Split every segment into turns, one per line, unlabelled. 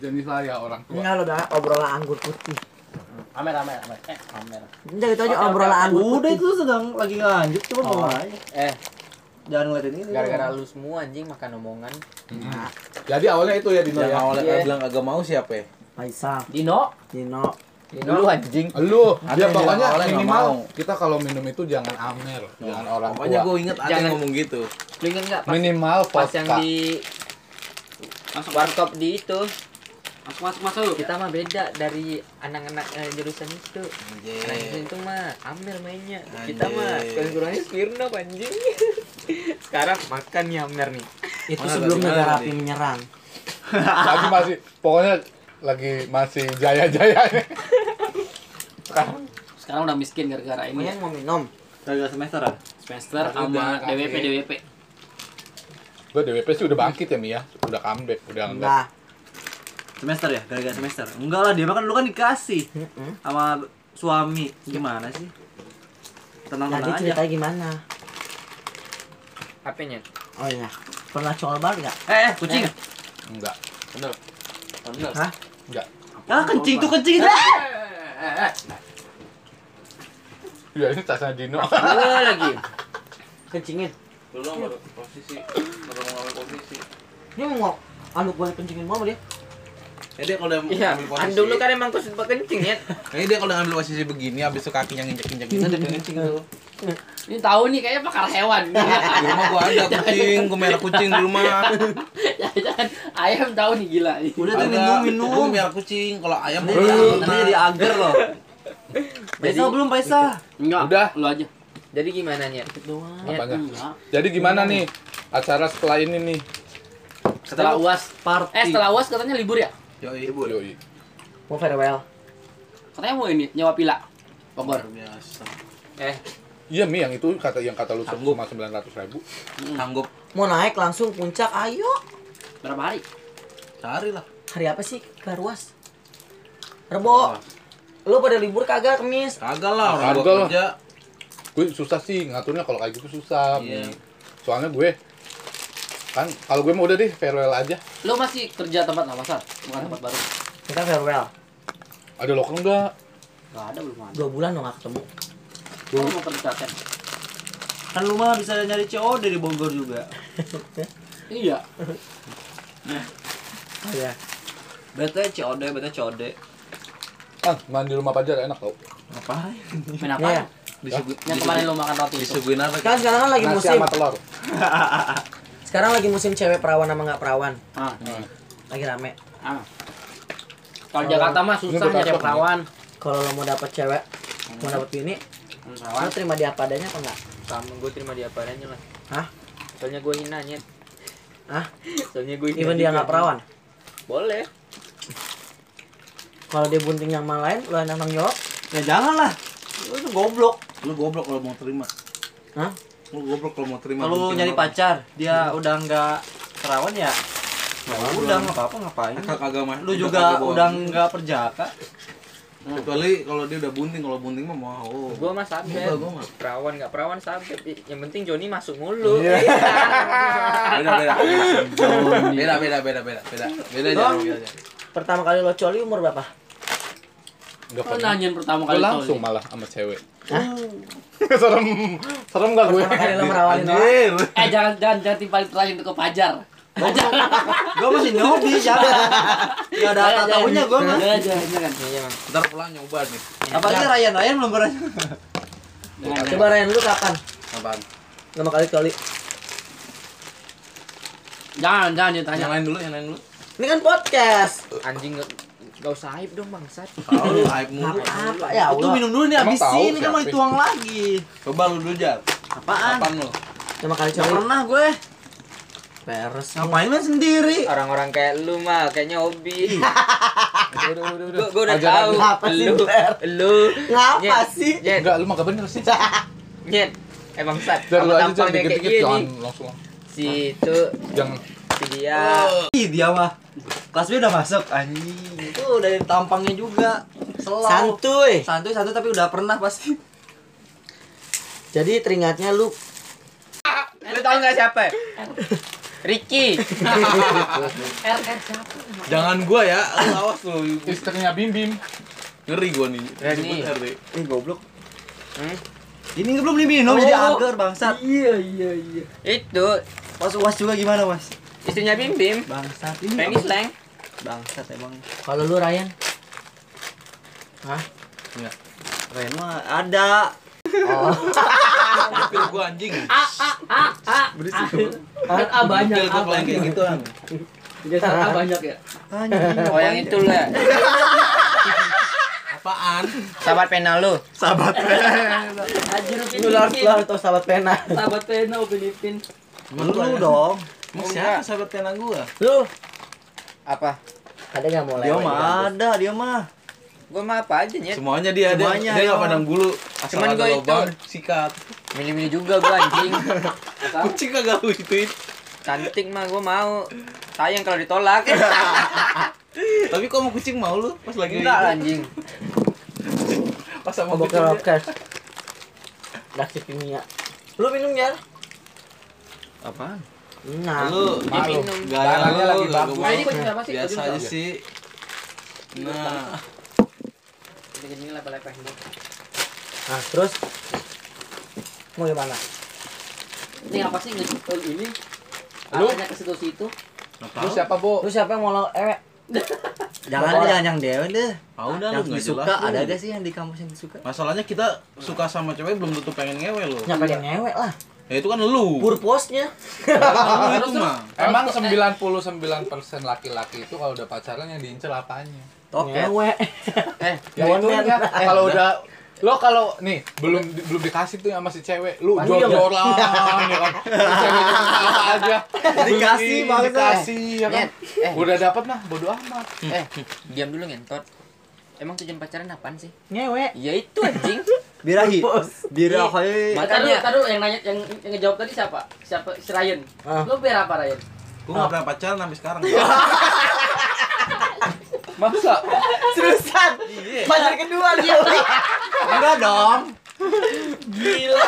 jenis saya orang tua.
Enggak lo dah obrolan anggur putih.
Amer, amer, amer. Eh, amer.
Udah gitu aja
Oke, oke,
obrolan
oke.
anggur
Udah
putih.
itu sedang lagi lanjut coba
Oh.
bawa aja.
Eh,
Jangan ngeliatin ini.
gara-gara lu semua anjing makan omongan.
Mm. Jadi awalnya itu ya Dino
Yang
ya.
awalnya
eh,
Iya.
bilang agak mau siapa ya?
Faisal,
Dino,
Dino,
Dino lu anjing.
Lu,
Ada
dia
yang
pokoknya
bilang awalnya nggak
minimal
mau.
kita kalau minum itu jangan amer, jangan orang
Pokoknya
tua.
gue inget ada
Jangan.
yang ngomong gitu.
Lu inget enggak pas,
Minimal
pas yang
vodka.
di warkop di itu
Masuk masuk masuk.
kita mah beda dari anak-anak eh, jurusan itu. Anak jurusan
Anjir.
itu mah Amer mainnya. Kita mah
Anjing.
kan kurangnya Smirnoff anjing. Sekarang makan nih Amer nih.
itu
Mana
sebelum
tadi? Mana
negara
tadi?
api menyerang.
Tapi masih pokoknya lagi masih jaya-jaya nih. Kan,
Sekarang udah miskin gara-gara ini.
Kemudian
Iya.
mau minum.
gara semester ah.
Semester
Udah,
sama
kaki.
DWP DWP.
Gue DWP sih udah bangkit ya Mia, udah comeback, udah enggak.
Enggak.
Semester ya? Gara-gara semester. Enggak lah, dia makan lu kan dikasih
Mm-mm.
sama suami. Gimana sih?
Jadi
Tenang tenang aja.
ceritanya gimana?
Apanya?
Oh iya. Pernah colbar enggak?
Eh, eh, kucing.
Enggak.
Bener.
Hah?
Ah, kencing tuh kencing.
Ya ini tasnya Dino.
Gua lagi.
Kencingin.
Belum baru posisi, baru ngambil posisi.
Dia mau anu boleh kencingin mau dia.
Ya dia kalau udah
Iya,
ngambil
kan
posisi.
dulu kan emang kau sempat kencing ya.
Kayaknya dia kalau udah ngambil posisi begini habis itu kakinya nginjek-injek gitu dia kencing tuh.
Ini tahu nih kayaknya pakar hewan.
Di rumah gua ada kucing, gua merah kucing di rumah.
Jangan ayam tahu nih gila.
Udah tuh
Ada.
minum minum.
Gua merah kucing, kalau ayam
Nanti jadi, nanti jadi agar loh. Paisa belum Paisa.
Gitu.
Enggak.
Udah.
Lu aja. Iya,
Jadi gimana nih? Nyet.
Apanya?
Enggak.
Jadi gimana nih acara setelah ini nih?
Setelah UAS
Party.
Eh setelah UAS katanya libur ya?
Yoi.
Yoi.
Mau farewell.
Katanya mau ini nyawa pila.
Luar
Bogor.
biasa.
eh
Iya Mi yang itu kata yang kata lu
Sanggup.
cuma sembilan ratus ribu.
Hmm.
Sanggup
Mau naik langsung puncak. Ayo.
Berapa hari?
cari lah.
Hari apa sih? Karuas. Rebo. Lu pada libur kagak Kamis?
Kagak lah orang
Kagak
gua
lah.
kerja.
Gue susah sih ngaturnya kalau kayak gitu susah. Mi.
Iya.
Soalnya gue kan kalau gue mau udah deh farewell aja.
Lu masih kerja tempat lama, Sar? Bukan tempat baru.
Kita farewell.
Ada loker enggak?
Enggak ada belum ada.
Dua bulan dong gak ketemu.
Lu mau kerja
Kan lu mah bisa nyari CO dari Bogor juga.
Iya.
Oh iya.
Bete COD, bete COD.
Ah, mandi rumah pajar enak tau.
Ngapain?
Main apa?
Iya.
Disugu-
Yang kemarin lu makan roti itu.
Disuguhin apa?
Kan sekarang kan lagi
Nasi
musim.
sama telur.
Sekarang lagi musim cewek perawan sama nggak perawan.
Ah,
Iya.
Lagi rame.
ah. Kalau Jakarta mah susah
Ini
nyari
berapa?
perawan.
Kalau lo mau dapet cewek, mau dapet bini, lo
Perawan.
terima dia apa adanya apa enggak?
sama gue terima dia apa adanya lah
Hah?
soalnya gue hina nyet
Hah?
soalnya gue hina
Even dia
juga.
nggak perawan.
boleh
Kalau dia bunting sama lain, lo yang nang jawab.
Ya jangan lah. Lu tuh goblok.
Lu goblok kalau mau terima.
Hah?
Lu goblok kalau mau terima.
Kalau
gunting
nyari
orang.
pacar, dia udah nggak perawan ya. Ya udah nggak apa-apa ngapain.
Kagak kagak mah.
Lu juga
kagak bawa
udah
gunting.
nggak perjaka.
kecuali kalau dia udah bunting, kalau bunting mah mau.
gue mah sabet
Enggak, gua mah.
perawan nggak perawan sabet yang penting Joni masuk mulu
Iya.
beda beda beda beda beda beda beda beda
Dong.
jangan beda jangan.
Pertama kali lo coli umur berapa?
Enggak
Lu
pernah.
nanyain pertama
Gue
kali
langsung
Tony.
malah sama cewek. serem, serem gak gue?
Pertama kali lo merawatin orang.
Anjir.
Eh jangan jangan jangan timpalin terakhir itu ke Pajar. Pajar.
Gua masih nyobi jangan. Gak ada tak
Jangan,
tahunya
jangan.
gua mah.
Jangan jangan jangan.
iya Mang.
ntar pulang nyoba nih
Apalagi Ryan Ryan belum pernah.
Jangan,
Coba Ryan lu kapan?
apaan
Lama kali coli.
Jangan jangan jangan tanya.
yang lain dulu yang lain dulu
Ini kan podcast.
anjing nggak nggak usah aib dong bangsat
tahu lu hype mulu
Apa ya
Itu
Allah.
minum dulu nih
Emang tahu
habisin, ini kan
siapa
mau
sih?
dituang lagi.
coba lu dulu jar
Apaan?
kapan lu
Lama kali
Gak
coli.
pernah gue.
Peres.
Ngapain main sendiri?
orang-orang kayak lu mah kayaknya hobi
Udah, udah, udah, udah.
gue gue udah
Ajaran
tahu
apa sih,
lu
Ber?
lu
Ngapa
Nyet,
sih?
nyet
Enggak, lu mah gak bener sih.
nyet emang sat
Jangan lu
sama
aja jangan
tampangnya kayak
dikit-dikit,
gini
jangan langsung.
si itu
Jangan.
si dia
Ih, dia mah. Kelas B udah masuk anjing. Itu dari tampangnya juga. Selau.
Santuy.
Santuy santuy tapi udah pernah pasti.
Jadi teringatnya lu
lu tau nggak siapa Ricky.
RR siapa?
Jangan gua ya, lu awas lu.
Istrinya Bim Bim.
Ngeri gua nih.
Ya, nih.
Nyebut RT.
Eh goblok.
Hmm?
Ini belum diminum jadi agar bangsat.
Iya iya iya.
Itu
Pas uas juga gimana mas?
istrinya Bim Bim.
Bangsat ini.
Penny Slang.
Bangsat emang.
Kalau lu Ryan,
Keren mah ada.
Hampir gua anjing.
Kan A
Hampir
banyak A
gua paling
banyak.
kayak gitu kan.
Biasanya A banyak ya.
Anjing.
Oh yang itu lah.
Apaan?
Sahabat pena lu.
Sahabat.
Anjir lu
lu Lars Lars atau sahabat pena.
Sahabat Pena Filipin.
Lu dong.
Emang siapa sahabat tenang gua?
Lu
Apa?
ada nggak mau
Dia
lewat?
mah ada, dia mah.
Gua mah apa aja nyet.
Semuanya dia ada.
Semuanya,
Dia nggak
ya.
pandang bulu. Asal
Ya. Cuman
ada
gua itu.
lubang sikat.
Milih-milih juga gua anjing.
Kucing kagak lu ituin.
Cantik mah gua mau. Sayang kalau ditolak.
Iya,
Tapi kok mau kucing mau lu pas lagi gitu.
Enggak lah, anjing.
pas sama
Mabok
kucing. dia.
rockers. Reaksi kimia. Lu minum ya?
Apaan?
Nah,
Lu
Malu.
Minum.
gaya
Barangnya lagi
lu gak
bagus.
gua
Nah,
Ini kucing apa sih?
biasa
Kucing
aja sih. Nah,
Ini level-level ini.
nah terus mau gimana?
Ini apa sih ngejepel Oh, ini?
Lu?
Arahnya ke situ-situ.
Lu siapa, Bu?
Lu siapa yang mau lo eh
Jangan
Bawa.
deh, jangan yang dewe deh.
Tahu dah lu
Yang
nggak
disuka
jelas lu.
ada gak sih yang di kampus yang disuka?
Masalahnya kita suka sama cewek belum tentu pengen ngewe lu.
nyapa yang ngewe lah.
Ya itu kan lu.
Purpose-nya.
Kan lu itu
Terus,
mah.
Emang 99% laki-laki itu kalau udah pacaran yang diincer apanya?
Oke.
Ngewe.
Eh,
Ya
Momen.
itu ya. Kalau udah lo kalau nih belum belum dikasih tuh sama si cewek, lu
Pasti
jor-joran ya kan. Si ceweknya apa aja.
Dikasih,
Beli,
bangsa.
Dikasih ya kan.
Nyet. Eh,
Udah dapat mah bodo amat.
eh. Diam dulu ngentot. Emang tujuan pacaran apaan sih?
Ngewe.
Ya itu anjing.
Birahi. Birahi.
Mak-
Taruh,
Makanya-
taruh yang nanya yang, yang ngejawab tadi siapa? Siapa? Si Ryan.
Ah.
Lu biar apa Ryan?
Gua nggak pernah pacaran sampai sekarang.
Masa
Seriusan. Pacar kedua dia.
Enggak dong.
Gila.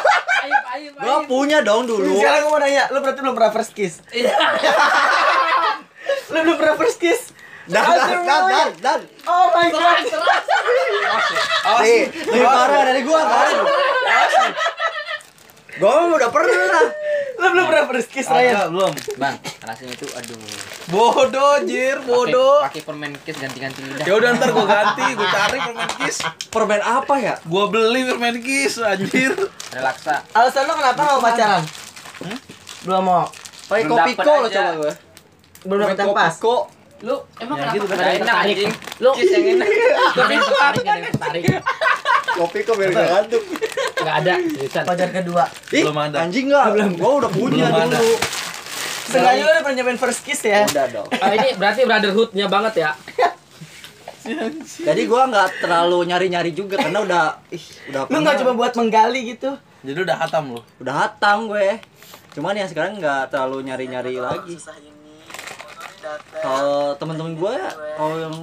Ayo, ayo,
Gua punya dong dulu.
Sekarang gue mau nanya, lu berarti belum pernah first kiss?
Iya,
lu belum pernah first kiss?
Dan dan dan dan. dan.
Oh my god.
Nih, lebih parah dari gua kan. Gua mah udah pernah.
Lu belum pernah first kiss, Ryan?
Ada belum?
Bang, rasanya itu aduh.
Bodoh jir, bodoh.
Pakai permen kiss ganti-ganti lidah.
Ya udah ntar gua ganti, gua cari permen kis.
Permen apa ya?
Gua beli permen kis anjir.
Relaksa.
Alasan lu kenapa gak mau pacaran? Belum mau.
Pakai
Belum
kopi
dapet
ko lo
aja.
coba gua.
Belum dapet yang pas.
Ko.
Lu emang
Ya
kenapa?
gitu kan,
Ada yang
enak
tertarik?
anjing.
Lu
Kiss yang enak.
ada yang tertarik, ada yang tertarik.
Kopi ko biar gak ngantuk.
Enggak ada. seriusan.
Pacar kedua.
Ih,
Belum ada.
anjing enggak? Belum. Gua udah punya
Belum ada.
dulu.
Seenggaknya lu udah pernah nyobain first kiss ya?
Udah dong.
Ah, ini berarti brotherhoodnya banget ya.
Jadi gua nggak terlalu nyari-nyari juga karena udah ih, udah
Lu gak coba buat menggali gitu?
Jadi udah hatam lu.
udah hatam gue. Cuman ya sekarang nggak terlalu nyari-nyari lagi. Kalau teman-teman gue kalau yang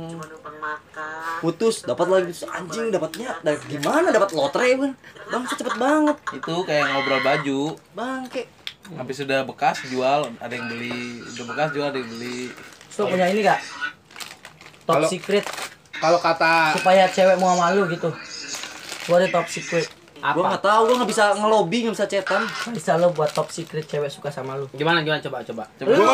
putus dapat lagi putus anjing dapatnya dari gimana dapat lotre bang bang cepet banget
Itu kayak ngobrol baju.
bangke
Habis sudah bekas jual, ada yang beli. Udah bekas jual, ada yang beli.
Lu punya ini gak? Top
Kalau-
secret
kalau kata
supaya cewek mau sama lu gitu. Gua ada top secret.
gue nggak tahu gue nggak bisa ngelobi nggak bisa cetan
Bisa lu buat top secret cewek suka sama lu.
Gimana gimana coba coba.
Coba
Lu.
gua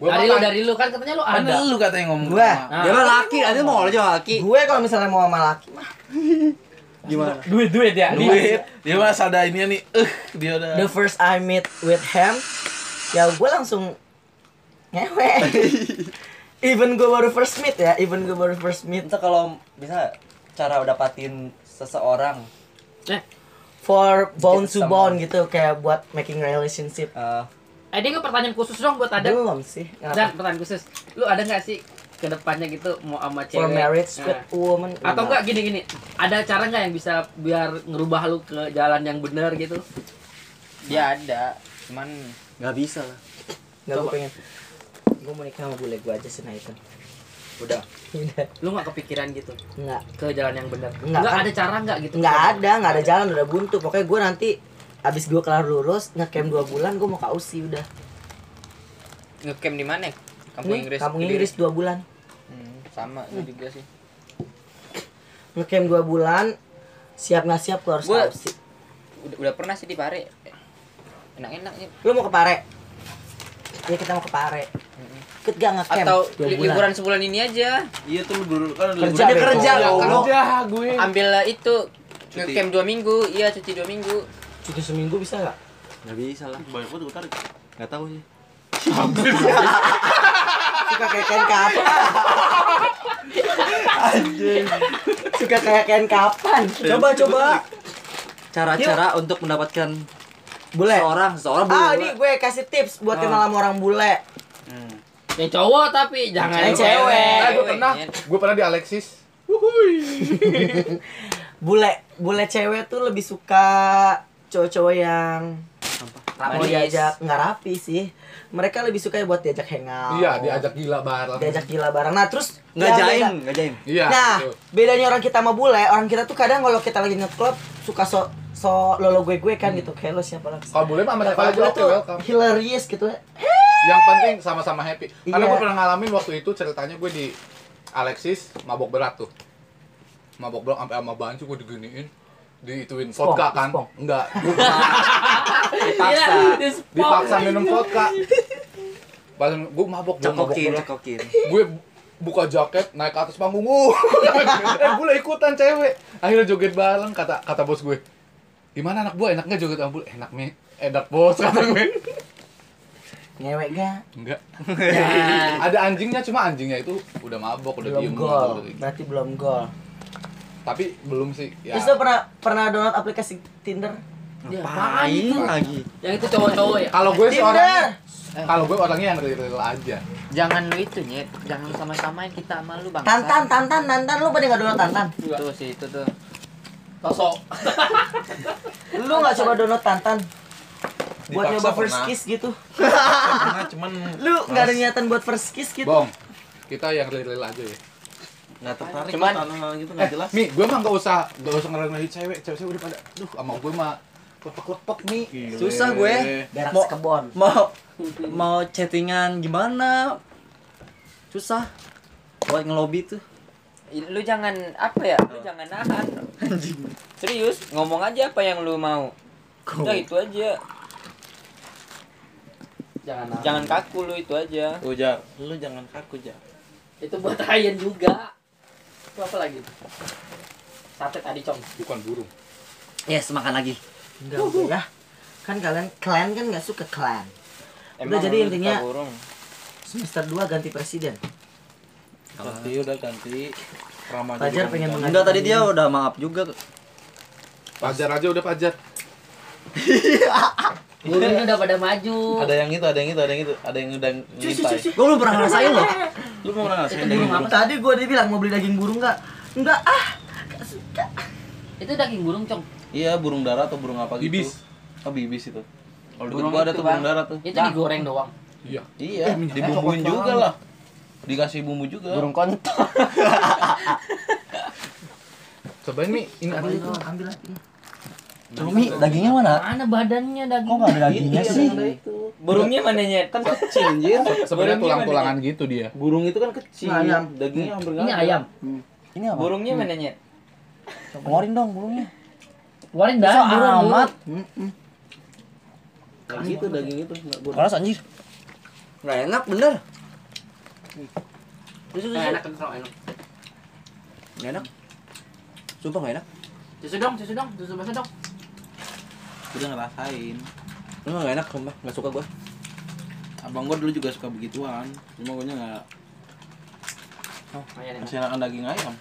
makan.
Gua
dari lu
makan.
dari lu kan katanya lu
Kan
ada.
lu katanya ngomong.
Gua.
sama.
dia mah laki aja mau aja laki
Gue kalau misalnya mau sama laki
gimana
duit duit ya
Duit. Dia mas ada ininya nih. Eh, dia udah.
the first I meet with him ya gue langsung ngewe even gue baru first meet ya even gue baru first meet
itu kalau bisa cara dapatin seseorang
Eh,
for bone to
Sama.
bone gitu kayak buat making relationship
eh,
eh dia nggak pertanyaan khusus dong buat ada.
belum sih
Dan
kenapa
pertanyaan khusus. Lu ada nggak sih ke depannya gitu mau sama cewek?
for marriage
Nah.
with woman
Atau enggak gini-gini, ada cara nggak yang bisa biar ngerubah lu ke jalan yang bener gitu?
Dia ada. Cuman
nggak bisa lah
nggak gue pengen gue mau nikah sama bule gue aja sih nah itu
udah
udah
Lu nggak kepikiran gitu
Iya. nggak
ke jalan yang bener?
Nggak,
Nggak,
kan?
ada cara nggak gitu?
nggak ada nggak ada jalan udah buntu pokoknya gue nanti abis gue kelar lulus ngecamp dua bulan gue mau ke Aussie udah
Ngecamp di mana?
Kampung
Kampung Inggris.
Hmm? Kampung Inggris dua bulan.
Hmm, sama gue juga sih.
Ngecamp dua bulan. Siap nggak siap lu harus
Gua-
absen.
Udah, udah pernah sih di Pare. Enak-enak sih.
Lu mau ke Pare? Ya kita mau ke Pare. Ikut gak ngecamp?
Atau
Dua
li-
bulan.
liburan sebulan ini aja.
Iya tuh lu dulu kan
Kerja,
liburan.
bego.
kerja,
Ya,
goblok.
kerja.
gue.
Ambil eh, itu
Cuti.
ngecamp dua minggu, iya cuti dua minggu.
Cuti seminggu bisa nggak?
Gak bisa lah.
Banyak banget gue tarik.
Gak tahu sih.
Suka kayak kain kapan? Suka kayak kain kapan?
Coba coba. Cara-cara untuk mendapatkan
Bule.
seorang Ah. seorang
Ah, ini gue kasih tips buat kenal sama orang bule.
Yang cowok tapi jangan
Yang cewek.
Eh, gue pernah,
Iya.
gue pernah di Alexis.
Bule, bule cewek tuh lebih suka cowok-cowok yang mau
Manis.
diajak nggak rapi sih. Mereka lebih suka buat diajak hangout.
Iya, diajak gila bareng.
Oh. diajak gila bareng. Nah, terus
Nggak
yang
jaim,
beda-
nggak jaim.
Iya.
Nah,
gitu.
bedanya orang kita sama bule, orang kita tuh kadang kalau kita lagi nge-club suka so so lolo gue gue kan gitu kayak lo siapa lagi
Kalau boleh mah mereka
kalau
aja
bule
oke
tuh
welcome.
hilarious gitu
Yang penting sama-sama happy. Karena
Iya.
gue pernah ngalamin waktu itu ceritanya gue di Alexis mabok berat tuh. Mabok berat sampai sama bancu gue diginiin diituin
Spong,
vodka kan?
spong.
Enggak.
Iya,
Dipaksa minum vodka. Pas gue mabok, gue mabok
Cekokin,
berat.
cekokin.
gue buka jaket naik ke atas panggung uh eh gue lah ikutan cewek akhirnya joget bareng kata kata bos gue gimana anak buah enaknya joget ambul enak mi "Eh, enak bos kata gue
ngewek gak
enggak ada anjingnya cuma anjingnya itu udah mabok udah
belum
diem gitu,
gol
udah diem.
berarti belum gol
tapi belum sih ya
terus lo pernah pernah download aplikasi Tinder
Ngapain lagi?
Iya, Yang itu cowok-cowok ya.
kalau gue sih orangnya
Tinder
kalau gue orangnya yang real aja
Jangan lu itu, Nyet. Jangan sama-samain kita sama lu, Bang.
tantan tantan tantan lo pada nggak download tantan
Tuh sih, itu tuh.
Sosok.
lu nggak coba download tantan buat
Dipaksa
nyoba first
pernah.
kiss gitu
Karena Nah, cuman
lu nggak ada niatan buat first kiss gitu
bong kita yang real aja ya
Nggak tertarik.
Cuman-
kan, tanah gitu nggak jelas.
Mi, gue mah gak usah, gak usah ngerendahin cewek, cewek-cewek udah pada, duh sama gue mah lepek-lepek Mi
Susah gue.
Eh.
berak
Mau-
sekebon
mau mau chattingan gimana susah buat ngelobi tuh
Lu jangan apa ya? Lu jangan nahan. Serius, ngomong aja apa yang lu mau. Udah itu aja.
Jangan. ah.
Jangan kaku lu itu aja.
Tuh Jar, lu jangan kaku Jar
Itu buat Ryan juga. Itu apa lagi? Sate tadi, Cong.
Bukan burung
yes makan Ya, lagi
Enggak udah ya. Kan kalian clan kan nggak suka clan. Udah, jadi
lu
intinya-
suka burung.
Semester 2 ganti presiden.
Ganti Iya, udah ganti Ramadan
Pajar pengen mengganti.
enggak tadi dia udah maaf juga
Pajar aja udah pajar
Gurunya udah pada maju.
Ada yang itu, ada yang itu, ada yang itu Ada yang udah ngintai
gue belum pernah ngerasain loh
Lu mau pernah
Itu
ngerasain
burung
daging
apa?
Tadi gua dibilang mau beli daging burung nggak? Enggak ah. nggak suka.
Itu daging burung, Cong.
Iya, burung dara atau burung apa gitu
Bibis.
Oh bibis itu Kalau deket
Burung
gua ada
itu,
tuh burung
Bang.
dara tuh
Nah.
Itu digoreng doang.
Iya
Iya, dibumbuin juga lah Dikasih bumbu juga
Burung kontol.
Cobain Mi, ini apa
Ambil
itu?
itu, ambil lagi.
cumi dagingnya mana
Mana badannya Iya, daging?
kok nggak ada
Iya,
dagingnya sih
Burungnya mana, Nyet? Kan kecil.
Anjir
Sebenarnya
Burungnya
tulang-tulangan gitu dia
Burung itu kan kecil
Ini ayam.
Dagingnya hampir
Ini ayam.
ini apa Hmm.
Burungnya mana, Nyet?
keluarin dong burungnya
Keluarin dah,
susah
burung, burung.
amat
Daging itu, gitu daging itu Nggak burung.
keras anjir nggak enak bener
Susu,
Eh, Enak, enak, enak.
nggak enak sumpah nggak enak
Susu dong, susu dong, susu basah dong.
Udah ngerasain
Emang nggak enak sumpah nggak suka gue
Abang gua dulu juga suka begituan Cuma gua nggak
Oh,
Lumayan Oh, iya, enak.
masih enakan daging ayam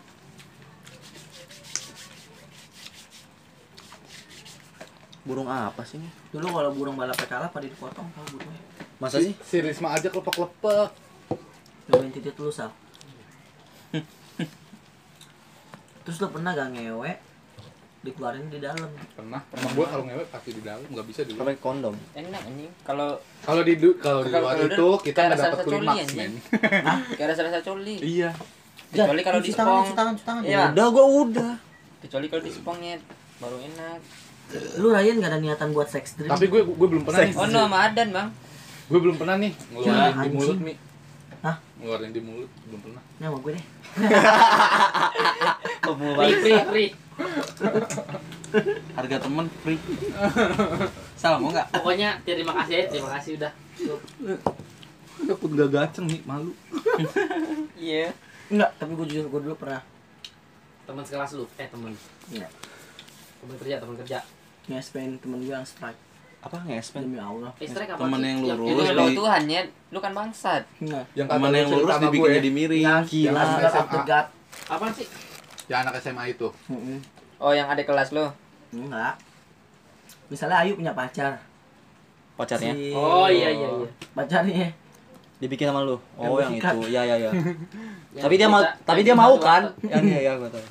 burung apa sih ini?
Dulu kalau burung balapnya kalah pada dipotong kalau burungnya.
masa sih
Si Risma aja kelepek-lepek
Cobain titik lu, Sal. Terus lo pernah gak ngewe dikeluarin di dalam?
Pernah, pernah gue kalau ngewek pasti di dalam, nggak bisa di luar
pakai kondom
Enak anjing. Kalau
Kalau di du- kalau di
Kalau-
luar
kalau
itu
udah,
kita
kayak
nggak
rasa
dapat
coli
klimaks
anjing.
men
gak ada rasa coli.
Iya
Kecuali kalau di
cuci tangan,
Spong.
cuci tangan, cuci tangan.
Iya.
udah gue udah
Kecuali kalau di Spong, Nyet. Baru enak.
Lu Eh, Ryan gak ada niatan buat sex dream?
Iya.
Tapi gue gue belum pernah nih
Oh, no, sama Adan, Bang.
Gue belum pernah nih
Ya,
ngeluarin di
anjing.
mulut, Mi.
Hah?
Ngeluarin di mulut belum pernah.
Ini sama gue deh. Oh,
Free, free, free.
Harga temen free. Salah mau nggak?
Pokoknya ya, terima kasih, terima kasih udah. Lu-
Takut gak gaceng nih malu.
Iya.
Enggak, tapi gue jujur gue dulu pernah
Teman sekelas lu, eh teman.
Iya.
Teman kerja, teman kerja.
ngespain temen gue yang strike.
Apa ngespen?
Demi Allah.
Eh, strike apa
Temen
sih?
yang lurus.
Itu
Terus
lo
di-
Tuhan ya, lu kan bangsat.
Enggak.
Yang kata
Temen
lu
yang
cerita
lurus
sama
dibikinnya
gue,
dimiring.
Gila.
Yang strike up the gut.
Apaan sih?
Yang ya anak SMA itu.
Mm-mm.
Oh, yang ada kelas lo.
Enggak. Misalnya Ayu punya pacar.
Ya.
pacarnya
Si-
Oh iya iya iya.
Pacarnya.
dibikin sama lu
Yang
oh yang
bersikat.
itu ya ya ya
Yang
tapi dia mau
cerita-
tapi dia
yang cerita
mau
di
kan
warteg.
yang ya ya gua tahu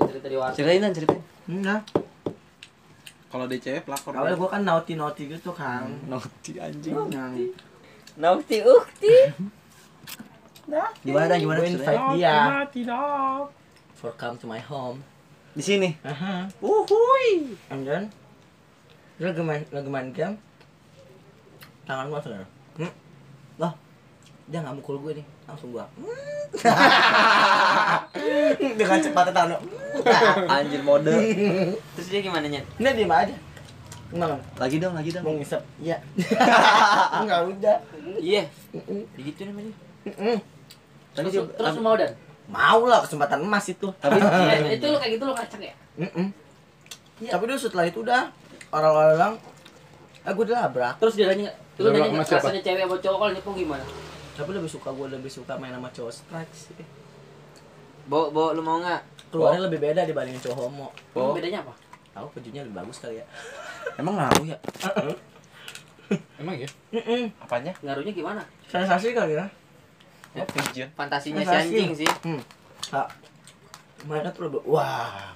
Yang cerita di warteg.
ceritain dan ceritain
Enggak.
Kalau dia cewek pelakor.
Awalnya gue kan naughty naughty gitu kan.
naughty anjing
Yang
Nauti ukti.
gimana Dan? gimana
gue
ceritain
invite dia. For come to my home.
di sini
Aha.
uhui
And then dia lagi main lagi main game. Tangan gua saudara. Hmm? Loh, dia nggak mukul gue nih, langsung gua. hmm. Dengan cepatnya tangan. gua, hmm.
anjir mode
Terus dia gimana nyet?
Ini diem aja. Gimana?
lagi dong lagi dong
Mau ngisep? Iya. Enggak udah.
Iya,
Mm-mm.
begitu namanya.
Mm-mm.
tapi
Terus,
dia
terus mau dan?
Mau lah kesempatan emas itu.
tapi
Eh, itu lu kayak gitu lu kacang ya?
Mm-mm. Iya. Tapi dulu setelah itu udah orang-orang bilang, eh gue dilabrak.
Terus dia nanya,
Lu
lu
bilang
nanya
sama siapa?
rasanya cewek sama cowok kalau nipu gimana?
Tapi lebih suka gue lebih suka main sama cowok strike sih.
Bo, bo, lu mau nggak?
Keluarnya lebih beda dibandingin cowok homo.
Emang bedanya apa?
Aku pejunya lebih bagus kali ya.
emang ngaruh ya
Emang ya?
Mm-mm.
Apanya?
Ngaruhnya gimana?
Sensasi kali ya.
Oh, pigeon.
Fantasinya si
Fantasi.
anjing sih.
Hmm. Kak, mereka tuh lebih wah.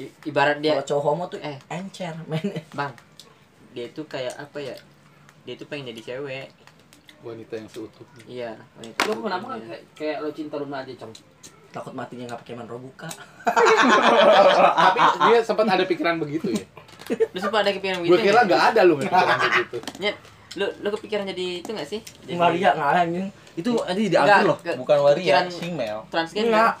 I- Ibarat dia
Kalau cowok homo tuh
Eh.
encer mainnya.
Bang, dia itu kayak apa ya? Dia itu pengen jadi cewek.
Wanita yang seutuhnya.
Iya. wanita
Lu kenapa kan
seutuhnya.
kayak, kayak lu cinta Luna aja, Cong?
Takut matinya nggak pakai manrobuka.
Tapi dia sempat ada pikiran begitu ya.
Lu suka ada kepikiran
Gue
begitu?
kira
nggak?
nggak ada lu pikiran gitu. begitu.
Nyet, lu lu kepikiran jadi itu nggak sih? Jadi
Maria nggak anjing.
itu tadi di Agri
Enggak,
loh
ke-
Bukan waria,
pikiran-
female.
Transgender.
Enggak.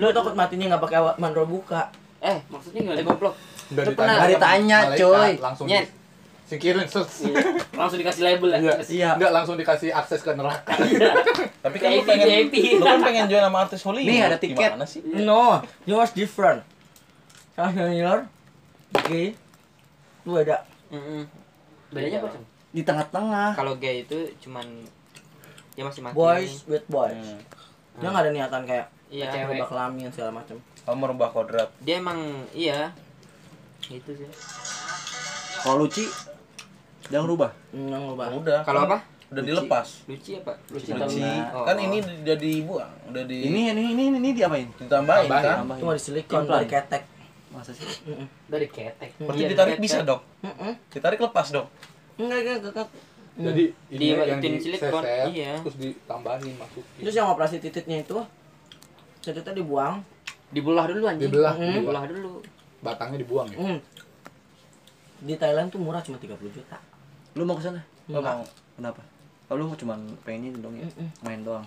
Lu takut matinya nggak pakai wa- manrobuka.
Eh,
Maksudnya gimana?
eh goblok.
Nggak
Lu
sama
pernah-
Nggak ditanya,
malaikat,
coy.
Langsung
Nyet.
di- singkirin sus.
Iya. Langsung dikasih label ya?
Iya.
Dikasih-
iya
Nggak langsung dikasih akses ke neraka.
Tapi kan lu
VIP,
pengen
VIP.
lu kan pengen join sama artis Hollywood.
Nih, ada tiket.
Gimana sih?
Iya.
No, you was different. Sama senior, gay, lu ada.
Mm-mm.
Bedanya apa, Cong?
di tengah-tengah
Kalau gay itu cuman dia masih mati.
Boys with boys.
Hmm.
Dia nggak ada niatan kayak
Iya.
Cewek.
merubah kelamin segala macam.
Kamu merubah kodrat.
Dia emang iya. Gitu sih.
kalau Luci jangan rubah
Yang merubah.
Udah.
Kalau apa?
Udah dilepas.
ya,
Luci apa?
Luci
Luci.
Oh.
Kan ini udah dibuang, udah di
ini ini ini ini diapain
Tambahin.
ditambahin kan.
Tambahin.
Cuma di silikon,
Implan.
dari ketek.
masa sih
Dari ketek.
Berarti
Iya,
ditarik
kan,
bisa
kan.
dong.
Mm-mm.
Ditarik lepas dong.
Enggak, enggak, enggak, enggak.
Jadi ini
Di-
yang
tin
di
silikon, iya.
terus ditambahin masukin.
Terus yang operasi titiknya itu, titiknya dibuang.
Dibelah dulu anjing.
Dibelah,
Mm.
dibelah.
Dibelah dulu.
Batangnya dibuang ya.
Hmm. Di Thailand tuh murah cuma 30 juta.
lu mau kesana
Lu
Enggak.
mau
kenapa oh, lu cuma pengen ini dong ya
Mm-mm.
main doang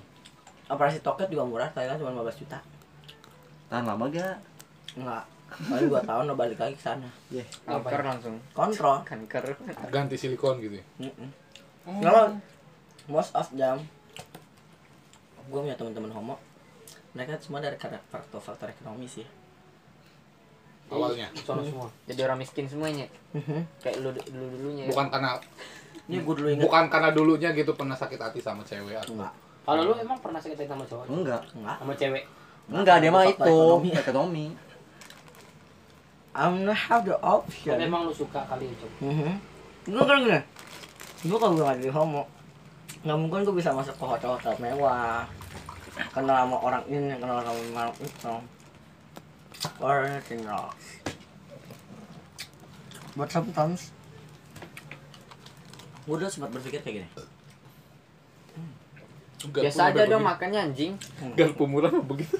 Operasi toket juga murah, Thailand cuma 15 juta.
tahan lama gak
Enggak. Baru 2 tahun udah balik lagi ke sana.
Kanker langsung.
Kontrol.
Kanker.
Ganti silikon gitu ya.
Mm-mm. Kalau most of them, gue punya teman-teman homo, mereka semua dari karena faktor-faktor ekonomi sih.
Awalnya.
Sono semua.
Jadi orang miskin semuanya.
Mm-hmm.
Kayak lu dulu dulunya.
Bukan karena
Ini gue dulu inget.
bukan karena dulunya gitu pernah sakit hati sama cewek atau
Enggak.
Kalau lu emang pernah sakitin sama cowok?
enggak
Enggak.
Sama cewek?
enggak dia mah
Faktor
itu
ekonomi.
ekonomi
I'm not have the
Tapi
option.
emang lu suka kali ya, Cong?
Mhm. Gue kan gini, gue kalau gue gak jadi homo, nggak mungkin gue bisa masuk ke hotel-hotel mewah, kenal sama orang ini, kenal sama orang itu, or anything else. But sometimes, gue udah sempat berpikir kayak gini,
Biasa aja dong makannya anjing.
Garpu murah mah begitu.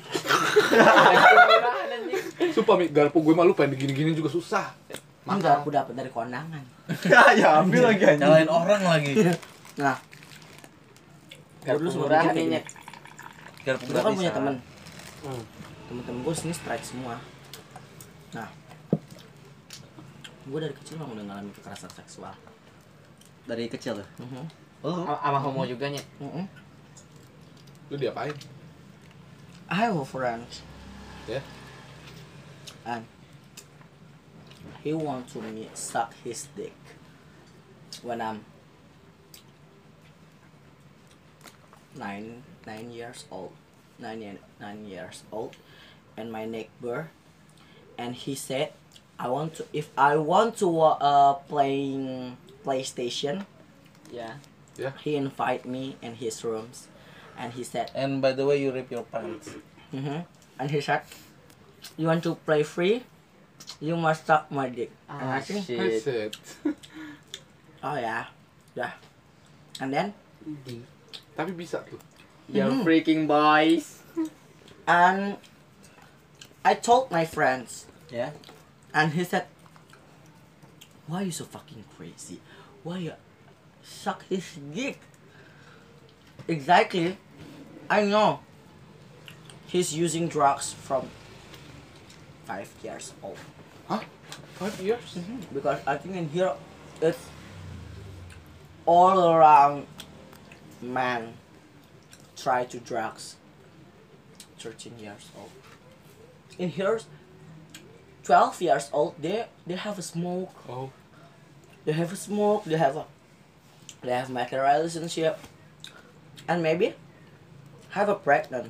Sumpah Mi, garpu gue malu pengen digini-gini juga susah.
Enggak, aku dapat dari kondangan.
ya ambil lagi anjing
Nyalain orang lagi.
Iya.
Nah,
Garpu
dulu sebelum
murah
bikin kayak
adanya.
gini.
Garpu
Gue kan punya
gratisan.
temen
Hmm.
Temen-temen gue sini strike semua Nah Gue dari kecil emang udah ngalamin kekerasan seksual
dari kecil tuh.
Mhm.
Oh,
A- Sama homo juga nyet.
Mhm.
Lu diapain?
I have a friend
Yeah.
And He want to me suck his dick When I'm Nine, nine years old nine, ye- nine years old and my neighbor and he said i want to if i want to wa- uh, playing playstation
Ya.
he invite me in his rooms and he said
And by the way, you rip your pants.
hmm and he said you want to play free you must suck my dick and i
Ah,
think
shit.
Set.
oh yeah yeah and then Mm-hmm.
Tapi bisa tuh.
You're freaking boys.
and i told my friends
ya.
And he said, Why you so fucking crazy? Why you suck his dick? Exactly. I know. He's using drugs from five years old.
Five years?
Because I think in here it's all around man try to drugs. 13 years old. In here 12 years old they they have a smoke
Oh.
they have a smoke they have a they have material relationship and maybe have a pregnant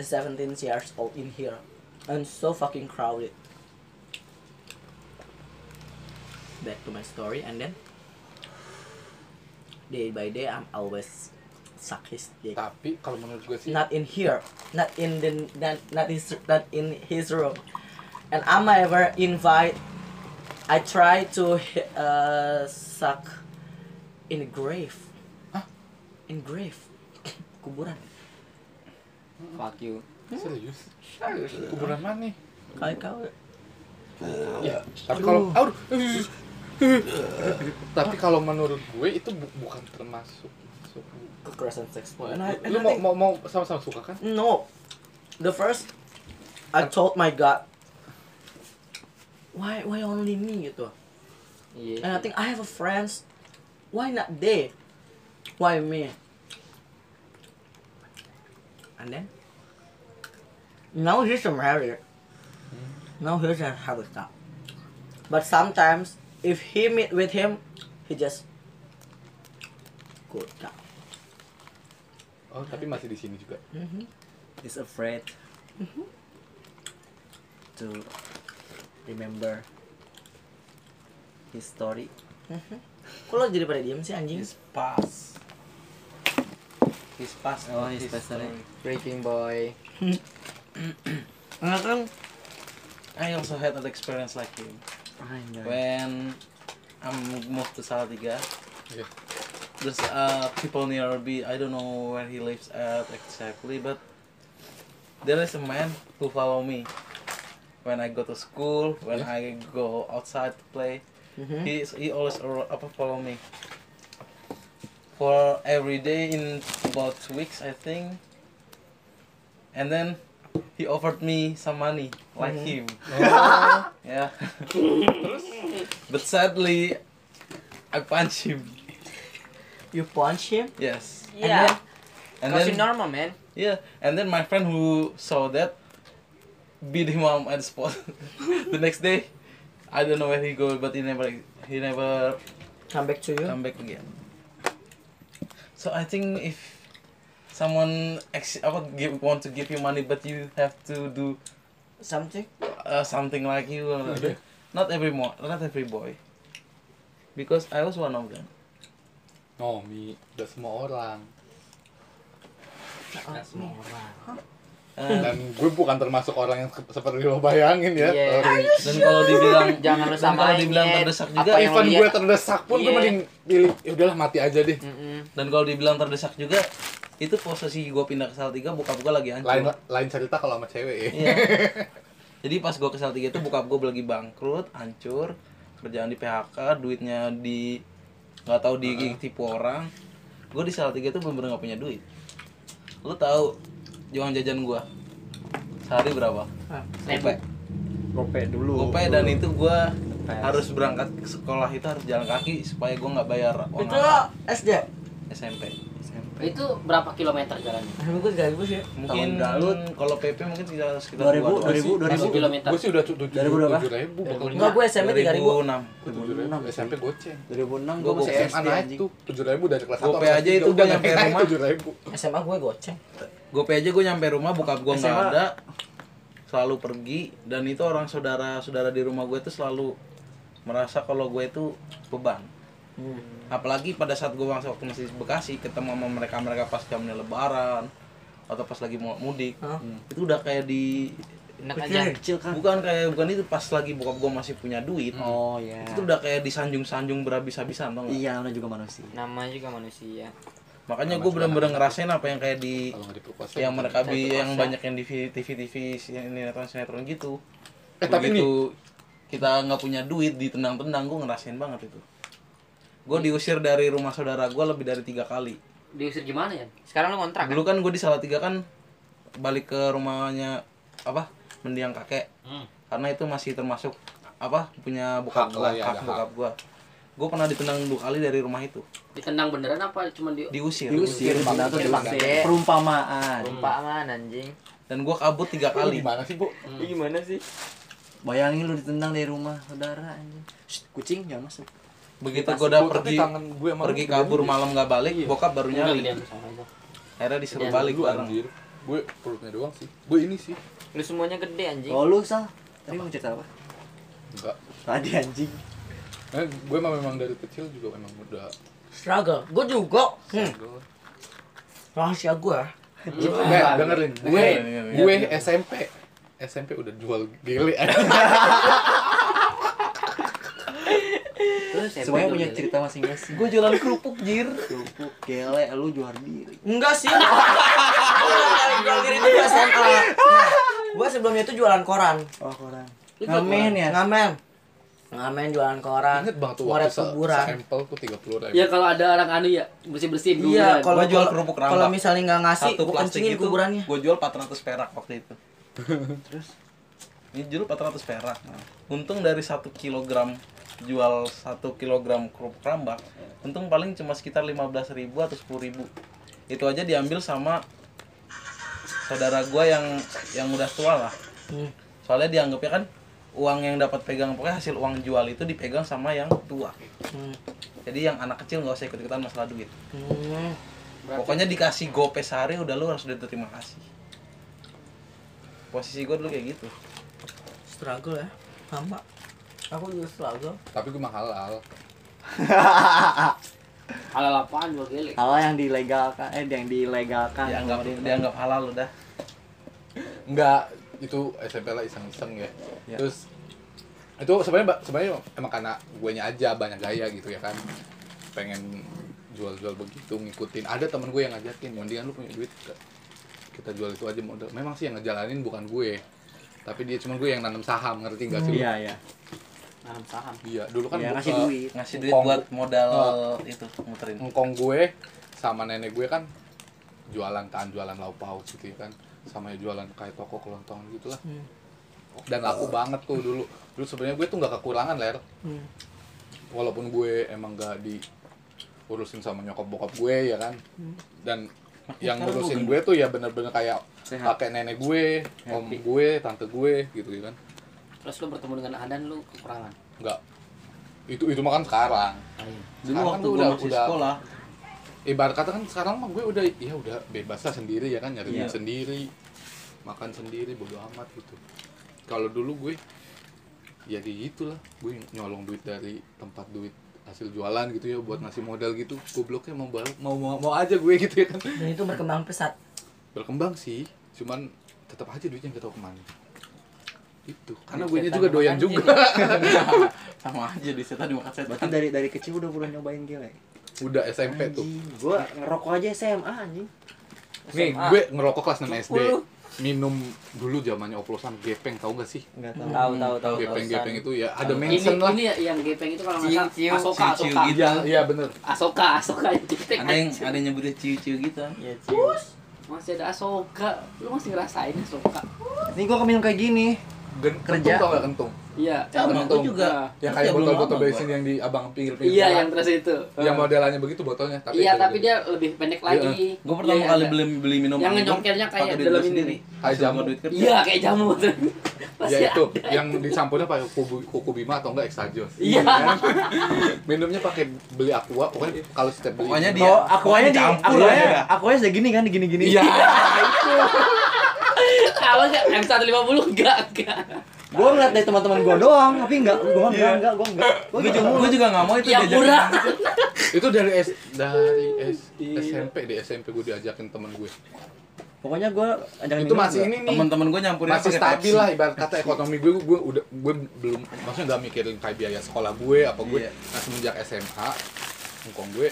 a 17 years old in here and so fucking crowded back to my story and then day by day i'm always suck his dick
Tapi kalau menurut gue sih
not in here, not in the not, not his not in his room. And I'm ever invite. I try to uh, suck in the grave.
Hah?
In grave, kuburan.
Fuck you.
serius. Kuburan mana nih?
Kali kau
Tapi kalau aduh. Tapi kalau menurut gue itu bu- bukan termasuk masuk.
kekerasan seksual. And I- and
Lu mau
I think-
mau mau sama-sama suka kan?
No. The first I told my God why why only me gitu.
Iya.
And I think I have a friends. Why not they? Why me? And then now he's married. Now he's a have a stop. But sometimes if he meet with him, he just go down.
Oh, tapi masih di sini juga.
Is afraid Mm-hmm. to remember his story.
Kok lo jadi pada diem sih anjing?
His past. His past.
Oh,
not
his past
story.
Freaking boy.
Nah kan
I also had an experience like him.
Anjay.
When I moved to Salatiga,
Yeah.
there's uh, people nearby. I don't know where he lives at exactly, but there is a man who follow me when I go to school, when I go outside to play.
Mhm.
He he always ar- apa follow me. For every day in about two weeks, I think. And then he offered me some money, like him. yeah. but sadly, I punch him.
you punch him.
Yes.
Iya.
And
Masih
then
normal, man.
yeah, and then my friend who saw that beat him up at the spot. the next day, I don't know where he go, but he never he never
Come back to you.
come back again. So I think if someone ex- apa, give, want to give you money, but you have to do
Something.
uh, something like you, uh,
Okay.
not every mo- not every boy. Because I was one of them.
Nomi, udah semua orang.
Uh, Hmm.
Dan gue bukan termasuk orang yang se- seperti lo bayangin ya.
Iya.
Sorry.
dan kalau dibilang
Jangan lu
dan kalau
samain,
dibilang
Nyet.
terdesak
Apa ya?
juga,
yang
Even
lo lihat?
gue terdesak pun gue
Iya. Hmm.
mending pilih ya udahlah mati aja deh.
Mm-mm.
Dan kalau dibilang terdesak juga, itu posisi gua pindah ke Salatiga, bokap gua lagi hancur.
Lain lain cerita kalau sama cewek ya.
Iya. Jadi pas gua ke Salatiga itu bokap gua lagi bangkrut, hancur. kerjaan di PHK duitnya di nggak tahu di tipu orang gue di Salatiga tuh bener-bener nggak punya duit lu tahu uang jajan gue sehari berapa
Seribu.
Gopay dulu.
Gopay dan itu gue harus berangkat ke sekolah itu harus jalan kaki supaya gue nggak bayar uang
Itu lo SD?
SMP
Itu berapa kilometer jalannya?
SMP gue 3000 sih
mungkin
Galut.
kalau PP mungkin sekitar sekitar
2000, 2000,
Masuk
2000.
kilometer.
Gue sih udah tujuh
Dari berapa?
tujuh ribu bakal
Enggak gue SMP 3000
ya?
ribu SMP goceng.
2006
Gue
gua
masih
masih
SMA
SD
naik
anjing.
tuh tujuh ribu dari kelas
Gopay aja itu
udah
gua
nyampe
nyampe
rumah
rumah.
tujuh ribu.
SMA gue goceng
Gopay aja gue nyampe rumah buka gue nggak
SMA.
ada selalu pergi dan itu orang saudara saudara di rumah gue tuh selalu merasa kalau gue itu beban apalagi pada saat gue bangsa waktu masih di Bekasi ketemu sama mereka mereka pas jamnya Lebaran atau pas lagi mau mudik
Hah?
itu udah kayak di
Enak aja.
Kecil kan.
bukan kayak bukan itu pas lagi bokap gue masih punya duit
Oh ya.
itu udah kayak disanjung-sanjung berhabis-habisan tau nggak?
Iya, namanya juga manusia.
Nama juga manusia.
makanya gue bener-bener ngerasain apa yang kayak di
Kalau nggak diperkosa.
yang mereka
Saya
bi yang
terpaksa.
banyak yang di TV TV sinetron sinetron gitu
Eh, tapi
Begitu kita nggak punya duit ditendang-tendang gue ngerasain banget itu gue diusir dari rumah saudara gue lebih dari tiga kali
Diusir gimana ya?
Sekarang lu ngontrak kan?
dulu kan gue di Salatiga kan balik ke rumahnya apa mendiang kakek
Hmm.
karena itu masih termasuk apa punya bokap
Hak
gue
lah ya, ada
hak
hak.
bokap gue gue pernah ditendang dua kali dari rumah itu
Ditendang beneran apa cuma di
diusir,
Diusir,
Diusir,
atau
diusir.
diusir. Iya, Perumpamaan.
Perumpamaan anjing.
dan gue kabur tiga
Kali.
kali
Gimana sih, Bu?
Ini gimana sih?
Bayangin lu ditendang dari rumah saudara anjing. Shh, kucing jangan masuk.
begitu gue udah
Bu, tapi
pergi
tangan gue sama Iya.
pergi
lu
kabur
gede-gede.
malam nggak balik bokap baru
Enggak
nyari
gedean sama itu.
akhirnya disuruh
Gedean
balik
Lu
bareng
anjir. Gue perutnya doang sih. Gue ini sih.
Lu semuanya gede anjing.
Oh lu sal. Tadi mau cerita apa?
Enggak.
Tadi anjing.
Eh, gue mah memang dari kecil juga memang udah
Struggle Gue juga hmm. Rahasia gue
Nih, dengerin. Gue
iya, iya.
gue SMP. SMP udah jual gele anjing.
Lu SMP
Semuanya
Eh, dulu
punya
dulu.
cerita masing-masing.
gue jualan kerupuk jir
Kerupuk gele lu jual diri.
Enggak sih Gue SMA nah, Gue sebelumnya itu jualan koran
Oh kurang.
Ngamen ya? Ngamen Ngamen jualan koran
Ingat banget tuh
Ngorek
waktu sa-
kuburan
sampel tuh 30
Iya.
ribu.
Ya kalau ada orang anu ya bersih-bersih dulu.
Iya, kalau
Gua jual
jual
kerupuk rambak.
kalau misalnya nggak ngasih,
satu
gue
plastik gitu.
kencingin
itu
kuburannya.
gue jual 400 perak waktu itu terus ini jual 400 perak Nah, untung dari satu kilogram jual satu kilogram kerupuk rambak untung paling cuma sekitar 15.000 atau 10.000 itu aja diambil sama saudara gua yang yang udah tua lah
Hmm.
soalnya dianggapnya kan uang yang dapat pegang pokoknya hasil uang jual itu dipegang sama yang tua
Hmm.
jadi yang anak kecil nggak usah ikut ikutan masalah duit
Hmm.
Pokoknya dikasih gope sehari udah lu harus udah terima kasih. Posisi gue dulu kayak gitu.
Struggle ya, sama. Aku juga struggle.
Tapi gue mah halal.
Halal apaan jual gele?
Hal yang dilegalkan eh yang dilegalkan.
Dianggap dianggap halal udah.
Enggak, itu SMP lah iseng-iseng ya.
Ya.
Terus itu sebenarnya ba- sebenarnya emang karena guenya aja banyak gaya gitu ya kan. Pengen jual-jual begitu ngikutin. Ada temen gue yang ngajakin, mendingan lu punya duit ke- kita jual itu aja modal. Memang sih yang ngejalanin bukan gue. Tapi dia cuma gue yang nanam saham, ngerti gak sih lu?
Iya iya.
Nanam saham.
Iya, dulu kan
Iya
bu-
ngasih
eh,
duit.
Ngasih duit
Kong-
buat modal
Oh.
itu muterin.
engkong gue sama nenek gue kan jualan tahan jualan lauk pauk gitu ya kan sama ya jualan kayak toko kelontong gitu lah dan laku banget tuh dulu dulu sebenarnya gue tuh nggak kekurangan ler
Hmm.
walaupun gue emang gak diurusin sama nyokap bokap gue ya kan dan yang ngurusin gue tuh ya bener-bener kayak
Sehat.
kakek nenek gue om
Happy.
gue tante gue gitu ya kan
Terus lu bertemu dengan Adan lu kekurangan.
nggak itu itu mah kan sekarang
Lain.
Dulu
Sekarang
waktu
tuh
gue
udah-
masih
udah-
sekolah,
ibarat kata kan sekarang mah gue udah ya udah bebas lah sendiri ya kan nyari duit
Iya.
sendiri makan sendiri bodo amat gitu kalau dulu gue ya kayak gitulah gue nyolong duit dari tempat duit hasil jualan gitu ya buat ngasih modal gitu gobloknya mau bal- mau mau, mau aja gue gitu ya kan
Dan itu berkembang pesat.
berkembang sih cuman tetap aja duitnya gak tau kemana itu karena gue
Duit setan
juga doyan
makan
juga
sama aja di setan di makan setan.
Berarti dari dari kecil udah pernah nyobain gele.
udah SMP tuh
Anjing, gua ngerokok aja SMA anjing.
nih
SMA.
gue ngerokok kelas 6 SD
Cukup
minum dulu zamannya oplosan gepeng tahu gak sih?
Enggak tahu.
Tahu tahu tahu.
Gepeng-gepeng itu ya ada
Ini,
mention lah.
ini yang gepeng itu kalau nggak
Ciu-ciu,
salah Asoka,
ciu-ciu
Asoka.
gitu.
Iya, iya bener.
Asoka, Asoka yang gepeng.
iya. Ada yang
anjing.
ada yang nyebutnya ciu-ciu gitu.
Iya, cius.
Masih ada Asoka. Lu masih ngerasain Asoka.
Nih gua keminum kayak gini.
Gen- Kentung
Kerja.
tau gak kentung?
Iya.
Sama
Kentung.
aku juga.
Yang
Aku
kayak
juga belum
botol-botol
lama gua.
bensin yang di abang pinggir-pinggir
Iya
jalan.
yang terus itu.
yang modelannya begitu botolnya tapi gitu.
Iya
itu
tapi
gede.
dia lebih pendek lagi.
Gue pertama
Iya,
kali
ada.
beli beli minum
Yang nyongkernya kayak dalam ini nih.
Kayak jamu.
duit kerja.
Iya kayak jamu tuh.
ya
Pasti
itu
ada.
yang dicampurnya pakai kuku, kuku bima atau enggak ekstajos
Iya.
minumnya pakai beli aqua pokoknya kalau setiap beli
Pokoknya
minum.
dia-
Oh, akuanya di
Campur aja.
akuanya akuanya segini kan digini-gini.
iya
Kalau nggak M150 enggak enggak.
Gua ngeliat dari teman-teman gua doang, tapi enggak gua enggak enggak gua enggak. Gua
Gue juga,
cuma
gua juga gak mau itu
Yang
diajakin
murah.
itu dari S, dari S-
Iya.
SMP di SMP gue diajakin temen gue
pokoknya gua ajak
itu masih ini nih
Temen-temen gue nyampurin
masih
pakai
stabil
Pepsi.
lah ibarat kata ekonomi gue gue udah gue belum maksudnya nggak mikirin kayak biaya sekolah gue apa gue
Iya.
nah semenjak SMA ngkong gue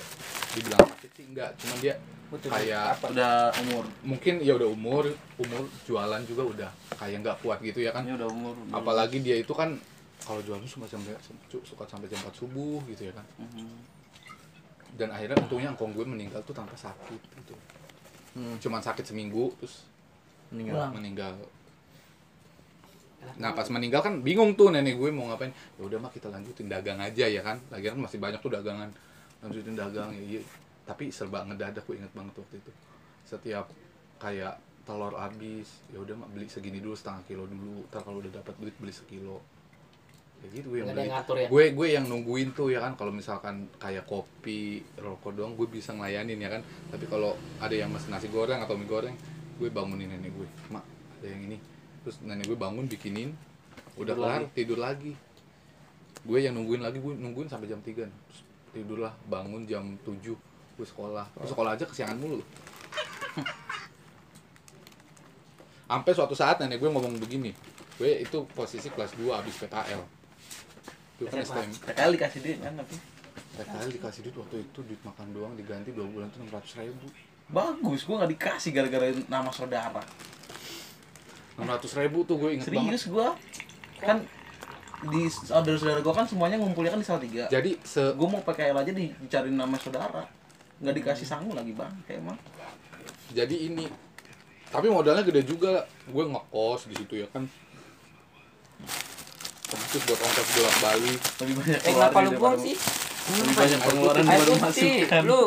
dibilang sakit sih enggak cuman dia kayak
Udah umur.
mungkin ya udah umur umur jualan juga udah kayak nggak kuat gitu ya kan
Ini udah umur. belum.
apalagi dia itu kan kalau jualan cuma sampai suka sampai jam 4 subuh gitu ya kan
Mhm.
dan akhirnya untungnya engkong gue meninggal tuh tanpa sakit gitu
Hmm.
cuman sakit seminggu terus
meninggal.
meninggal nah pas meninggal kan bingung tuh nenek gue mau ngapain ya udah mah kita lanjutin dagang aja ya kan lagian masih banyak tuh dagangan lanjutin dagang ya iya. tapi serba ngedadak gue inget banget waktu itu setiap kayak telur habis ya udah mah beli segini dulu setengah kilo dulu ntar kalau udah dapat duit beli sekilo ya gitu gue yang
Nggak ada
beli
yang ngatur ya.
gue gue yang nungguin tuh ya kan kalau misalkan kayak kopi rokok doang gue bisa ngelayanin ya kan tapi kalau ada yang mesen nasi goreng atau mie goreng gue bangunin nenek gue mak ada yang ini terus nenek gue bangun bikinin udah
Tidur
kelar tidur lagi gue yang nungguin lagi gue nungguin sampai jam 3 terus tidurlah bangun jam 7 gue sekolah gue sekolah aja kesiangan mulu sampai suatu saat nenek gue ngomong begini gue itu posisi kelas 2 abis PKL gue kan STM
SMA. PKL dikasih duit kan tapi
PKL dikasih duit waktu itu duit makan doang diganti 2 bulan tuh 600 ribu
bagus gue nggak dikasih gara-gara nama saudara
600 ribu tuh gue inget banget
serius gue kan di saudara-saudara gue kan semuanya ngumpulnya kan di Salatiga
jadi se
gue mau PKL aja di- dicariin nama saudara nggak dikasih sangu lagi bang kayak emang
jadi ini tapi modalnya gede juga gue ngekos di situ ya kan terus buat ongkos bolak balik
lebih banyak
Eh kenapa
keluarin
lu buang
daripada-
sih?
lebih banyak pengeluaran
Air
baru
putih.
masukan
Lu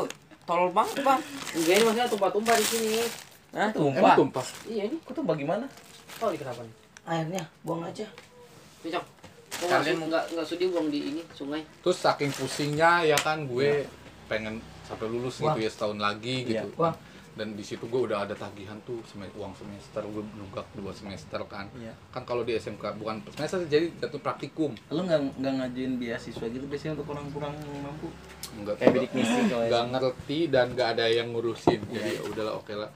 tolol banget, Bang.
Enggak ini maksudnya tumpah-tumpah di sini.
Hah?
tumpah
emang tumpah
Iya ini.
kok tumpah gimana
Oh,
Tahu di kenapa?
Airnya buang aja.
Cocok. Kok
Kalian
nggak nggak sudi buang di ini sungai?
terus saking pusingnya ya kan gue pengen sampai lulus gitu ya setahun lagi
Iya.
gitu
Wah.
dan di situ gue udah ada tagihan tuh sem- uang semester gue nunggak dua semester kan
Iya.
kan kalau di SMK bukan semester sih, jadi jatuh praktikum
lu nggak nggak ngajuin beasiswa gitu biasanya untuk orang-orang yang mampu
nggak
Kayak bidik misi kalau ya. Iya.
nggak ngerti dan nggak ada yang ngurusin jadi ya udahlah oke lah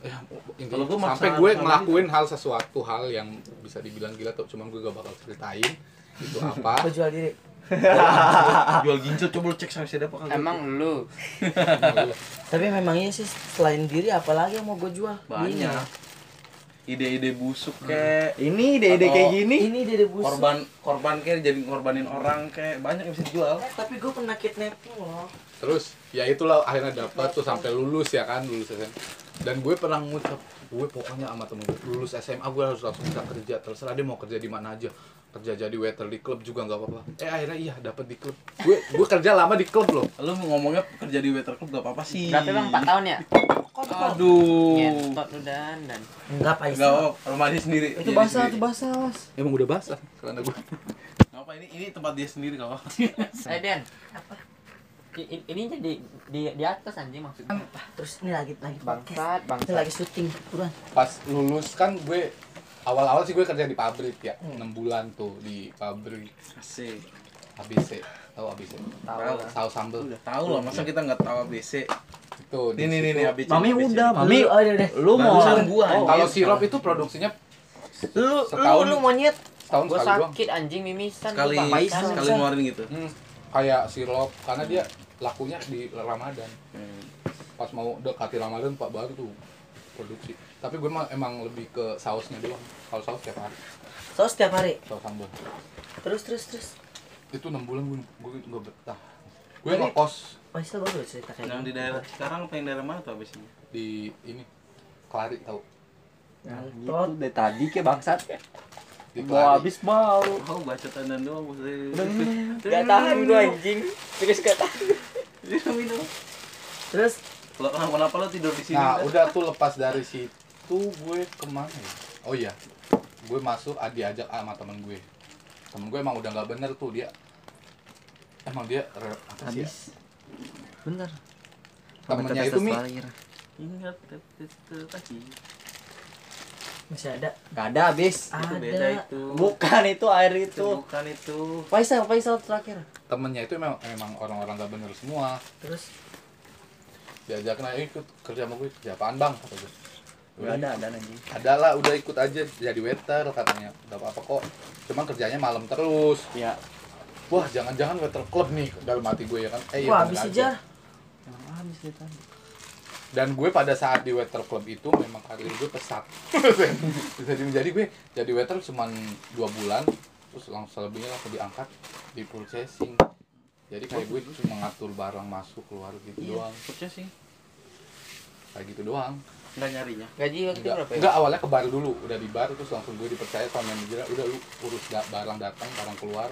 ya, intinya
Kalau
sampai
gua maksa- gitu.
gue
maksa
ngelakuin hal sesuatu hal yang bisa dibilang gila tuh cuman gue gak bakal ceritain itu
Gua
apa
jual diri.
jual ginjal coba lu cek sama siapa kagak
Emang lu.
Tapi memang iya sih selain diri apalagi yang mau gua jual?
iya.
banyak
Bingung.
ide-ide busuk kayak
Ini ide-ide
Atau-
kayak gini.
Ini dede busuk.
korban korban kayak jadi ngorbanin orang kayak banyak yang bisa dijual
Eh, tapi gua pernah kidnapping loh.
terus ya itulah akhirnya dapat tuh sampai lulus ya kan lulus SMA dan gue pernah ngucap gue pokoknya sama temen gue lulus SMA gue harus langsung bisa kerja terserah dia mau kerja di mana aja kerja jadi waiter di klub juga nggak apa-apa eh akhirnya iya dapat di klub gue gue kerja lama di klub loh
lu ngomongnya kerja di waiter club gak apa-apa sih
Berapa Bang? 4 tahun ya?
aduh
Ngentot lu dan dan.
Enggak, Pak
Gak
Isa.
apa, rumah dia sendiri
Itu
Dia
basah,
sendiri.
itu basah, Mas.
emang udah basah karena gue
Gak apa, ini, ini tempat dia sendiri gak apa
Eh Den. I- i- Ini jadi di, di atas anjing maksudnya.
Terus ini lagi lagi podcast.
Bangsat,
Ini
bangsat.
lagi syuting, buruan.
pas lulus kan gue awal-awal sih gue kerja di pabrik ya
Hmm.
enam bulan tuh di pabrik
Asik
ABC tahu ABC
Tahu lah.
saus sambel
Udah tau lah, masa kita gak tau ABC
itu
Ini, nih, nih, nih, ABC
Mami
ABC.
udah, Mami.
oh iya deh.
Lu mau
Barusan gua
Oh,
anjing.
kalau sirup itu produksinya
Lu
Setahun.
lu lu monyet.
setahun
Gua
sekali doang
sakit anjing mimisan.
Sekali,
gua bangsat.
sekali
Bisa.
ngeluarin gitu
Hmm, kayak sirup karena dia lakunya di Ramadan pas mau dekati Ramadan pak baru tuh produksi tapi gue emang, emang lebih ke sausnya doang kalau saus tiap hari
Saus setiap hari.
saus sambal
Terus terus terus.
itu enam bulan gue gue nggak betah gue ngekos
Faisal baru cerita kayak
Yang di daerah sekarang apa yang daerah mana tuh abisnya?
di ini Kelari tahu
Gitu
gitu.
Itu dari tadi ke bangsat.
di
Mau
Kelari
habis mau.
Oh, baca tandan doang bos.
Gak tahan lu anjing. Terus gak tahan.
minum.
Terus
Lo kenapa kenapa lo tidur di sini?
nah
kan?
udah tuh lepas dari situ gue kemana ya oh iya gue masuk ah, diajak sama temen gue temen gue emang udah nggak bener tuh dia emang dia re- apa sih ya?
habis. Bener.
temennya itu mi
Ingat tetep lagi.
Masih ada.
Gak ada habis.
Itu
Ada.
beda itu.
Bukan itu air
Itu
itu.
bukan itu.
Faisal Faisal terakhir.
temennya itu memang memang orang-orang gak bener semua
Terus
diajakin aja ikut kerja sama gue kerja apaan bang kata gue
Gak ada ada anjing.
ada lah udah ikut aja jadi waiter katanya udah apa apa kok cuman kerjanya malam terus
Iya.
wah jangan-jangan waiter club nih dalam hati gue ya kan eh iya,
Wah,
bener
habis aja.
Emang habis dari tadi.
dan gue pada saat di waiter club itu memang karir gue pesat jadi menjadi gue jadi waiter cuma dua bulan terus langsung selebihnya langsung diangkat di purchasing jadi kayak gue
Oh.
cuma ngatur barang masuk keluar
Iya.
gitu doang
Maksudnya sih
kayak gitu doang
enggak nyarinya.
Gaji waktu itu
Enggak,
berapa ya?
enggak awalnya ke bar dulu, udah di bar terus langsung gue dipercaya sama manajer, udah lu urus da- barang datang, barang keluar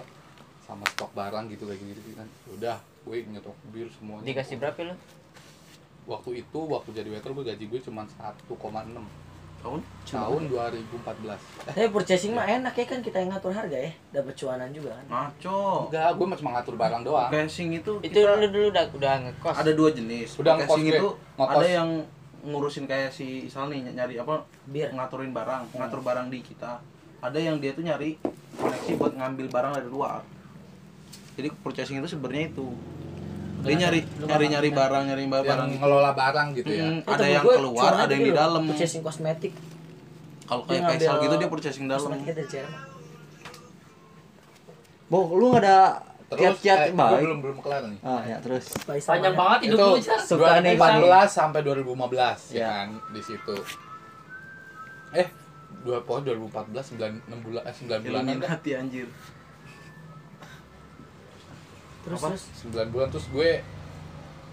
sama stok barang gitu kayak gitu gitu kan. Udah, gue nyetok bir semuanya.
Dikasih berapa lu?
Waktu itu waktu jadi waiter gue gaji gue cuma 1,6
Tahun?
tahun 2014. Eh,
Tapi purchasing mah enak ya kan kita yang ngatur harga ya. Dapat cuanan juga kan.
Ngaco.
Oh.
enggak, gue cuma ngatur barang doang.
Casing itu
Itu
kita-
lu dulu udah udah ngekos.
ada dua jenis.
Udah
Udah
ngekos
casing
gue,
itu
ngekos.
ada yang ngurusin kayak si Isal nih ny- nyari apa
Bir.
ngaturin barang, ngatur barang di kita. Ada yang dia tuh nyari koneksi buat ngambil barang dari luar. Jadi purchasing itu sebenarnya itu. Dia nyari nyari nyari barang, nyari barang.
Yang ngelola barang gitu ya.
Hmm,
Eh,
ada
temen
yang
gue
keluar,
cuanan
ada yang
dulu
di
loh,
dalam.
Purchasing kosmetik.
Kalau
Dia
kayak Faisal
ngambil
gitu dia purchasing dalam.
Kosmetiknya dari Jerman.
Bo, lu gak ada
Terus eh,
kiat-kiat
gue
baik.
belum belum kelar nih.
Ah ya terus.
Faisal
Panjang
mana?
banget hidup
Itu
lu, Jar.
Suka nih, Pan.
2014 sampai 2015 ya
Iya.
kan di situ. Eh, dua pohon 2014 9 6 bulan eh
Iya,
9 bulanan dah.
Illuminati anjir.
Terus
Apa?
terus
9 bulan terus gue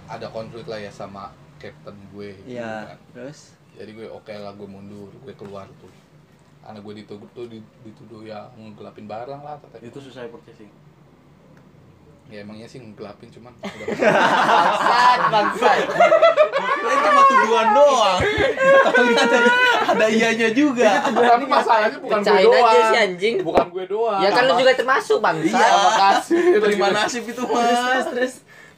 ada konflik lah ya sama captain gue gitu
Iya.
kan.
Terus.
jadi gue oke lah gue mundur gue keluar tuh karena gue dituduh tuh di- dituduh ya nggelapin barang lah katanya
Itu susah purchasing.
ya emangnya sih nggelapin cuman udah
bangsat, bangsat.
Kalian cuma tuduhan doang. Tapi ada ada ianya juga.
tapi masalahnya bukan gue
Pecahin
doang
aja sih anjing.
bukan gue doang
Ya kan lu juga termasuk bangsat.
Iya.
makasih
Terima nasib itu mas.
Terus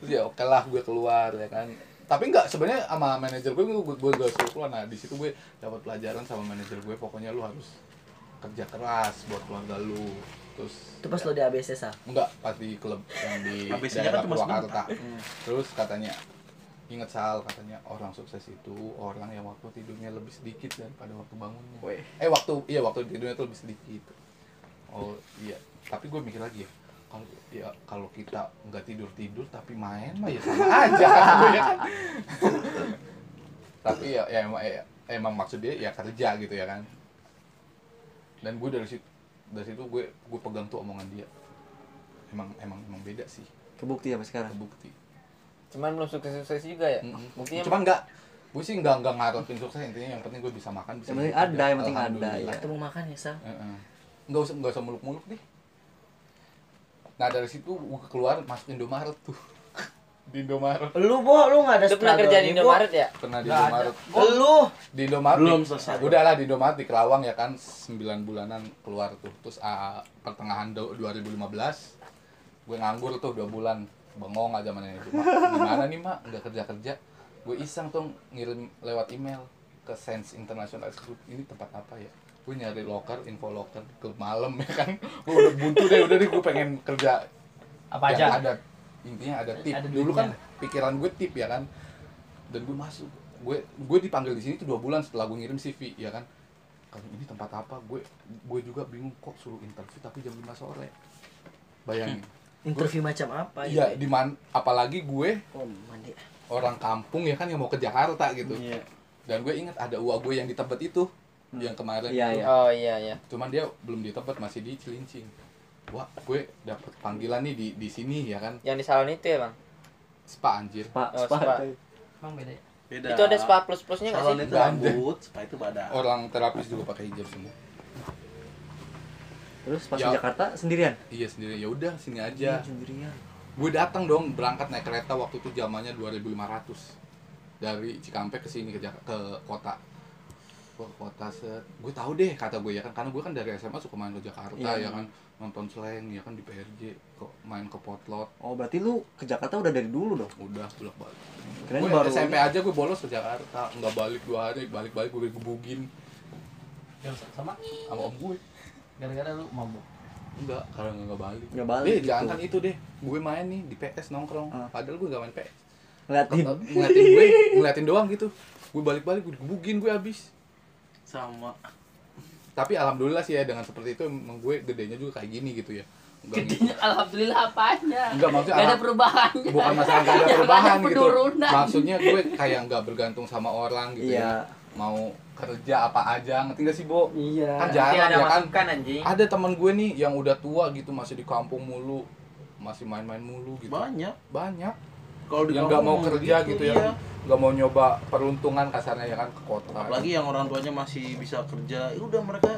ya oke lah gue keluar ya kan tapi nggak sebenarnya sama manajer gue gue gue gue suruh keluar nah di situ gue dapat pelajaran sama manajer gue pokoknya lu harus kerja keras buat keluarga lu terus
itu pas lo di ABC sa.
enggak pas di klub yang di
Habisnya
daerah
kan cuma
Purwakarta
sebentar. Hmm.
terus katanya ingat sal katanya orang sukses itu orang yang waktu tidurnya lebih sedikit daripada waktu bangunnya
Weh.
eh waktu iya waktu tidurnya itu lebih sedikit oh iya tapi gue mikir lagi ya kalau ya kalau kita nggak tidur tidur tapi main mah ya sama aja kata gue, ya kan? tapi ya, ya emang ya, emang maksud dia ya kerja gitu ya kan dan gue dari situ dari situ gue gue pegang tuh omongan dia emang emang emang beda sih
Kebukti apa sekarang?
terbukti
Cuman belum sukses-sukses juga ya.
Mm-mm.
Buktinya
Cuman enggak gue sih enggak enggak ngarepin sukses intinya yang penting gue bisa makan bisa
Yang penting
hidup,
ada,
ya.
yang penting ada,
Alhamdulillah.
ya.
Ketemu makan ya sa.
Heeh. Enggak usah enggak usah muluk-muluk deh. Nah, dari situ gue keluar masuk Indomaret tuh. di Indomaret.
Lu bo, lu nggak ada
lu pernah
struggle
kerja di
nih, Bo.
Indomaret ya?
Pernah di
Nggak ada.
Indomaret.
Oh,
Lu
Di Indomaret.
Belum selesai.
Udah lah di Indomaret di Kerawang ya kan 9 bulanan keluar tuh. Terus ah, pertengahan do- 2015 gue nganggur tuh 2 bulan. Bengong aja mana itu. Gimana nih, Mak? Enggak kerja-kerja. Gue iseng tuh ngirim lewat email ke Sense International Group. Ini tempat apa ya? Gue nyari locker, info locker ke malam ya kan. Gue udah buntu deh, udah deh gue pengen kerja yang
Apa aja?
Ya, ada intinya ada tip
Ada
dulu
duitnya.
kan pikiran gue tip ya kan dan gue masuk gue gue dipanggil di sini tuh dua bulan setelah gue ngirim cv ya kan kan ini tempat apa gue gue juga bingung kok suruh interview tapi jam 5 sore bayangin
Hmm.
interview macam apa
iya
gitu
di man apalagi gue
Oh, mandi.
orang kampung ya kan yang mau ke Jakarta gitu
Iya.
Dan gue ingat ada uang gue yang di Tebet itu, yang kemarin.
Iya,
itu.
iya.
Oh iya iya.
Cuman dia belum di Tebet, masih di Cilincing. Wah, gue dapet panggilan nih di di sini ya kan,
Yang di salon itu ya bang?
spa anjir.
Pak,
Oh,
Pak.
spa.
Emang beda ya?
Beda.
Itu ada spa plus plusnya nggak
Salon
sih?
itu
Nggak Oh. ada.
rambut, spa itu badan.
Orang terapis juga pakai hijab semua.
Terus pas
Ya.
di Jakarta sendirian?
Iya sendiri. Ya udah sini aja.
Sendirian.
Gue datang dong berangkat naik kereta waktu itu jamannya 2500 dari Cikampek ke sini ke Jak- ke kota. Wah, kota set. Gue tahu deh kata gue ya kan karena gue kan dari SMA suka main ke Jakarta
Iya.
ya kan nonton slang ya kan di PRJ kok main ke potlot
Oh, berarti lu ke Jakarta udah dari dulu dong.
udah bolak balik.
Keren
Gue
baru.
SMP aja gue bolos ke Jakarta nggak balik dua hari balik balik gue gebugin
Gara- Ya, Sama
sama om gue
gara-gara lu mabuk.
enggak karena nggak balik.
Nggak balik
Eh,
gitu.
jangan kan itu deh. Gue main nih di PS nongkrong.
Ah.
Padahal gue gak main PS.
Ngeliatin.
ngeliatin gue, ngeliatin doang gitu. Gue balik-balik gue digebukin gue habis.
Sama.
Tapi alhamdulillah sih ya dengan seperti itu emang gue gedenya juga kayak gini gitu ya. Enggak
Gedenya alhamdulillah apanya?
Enggak, maksudnya
Gak ada
alham-
perubahannya.
bukan masalah gak ada
Jangan
perubahan gitu.
penurunan.
Maksudnya gue kayak nggak bergantung sama orang gitu ya.
Iya.
Mau kerja apa aja, ngerti gak sih, Bo?
Iya.
Kan
Nanti
jarang
ada
ya kan.
masukan anjing.
Ada teman gue nih yang udah tua gitu masih di kampung mulu, masih main-main mulu gitu.
Banyak.
Banyak.
Kalau di
yang nggak mau
kampung
kerja gitu, ya
iya.
kan. nggak mau nyoba peruntungan kasarnya ya kan ke kota
Apalagi yang orang tuanya masih bisa kerja, ya udah mereka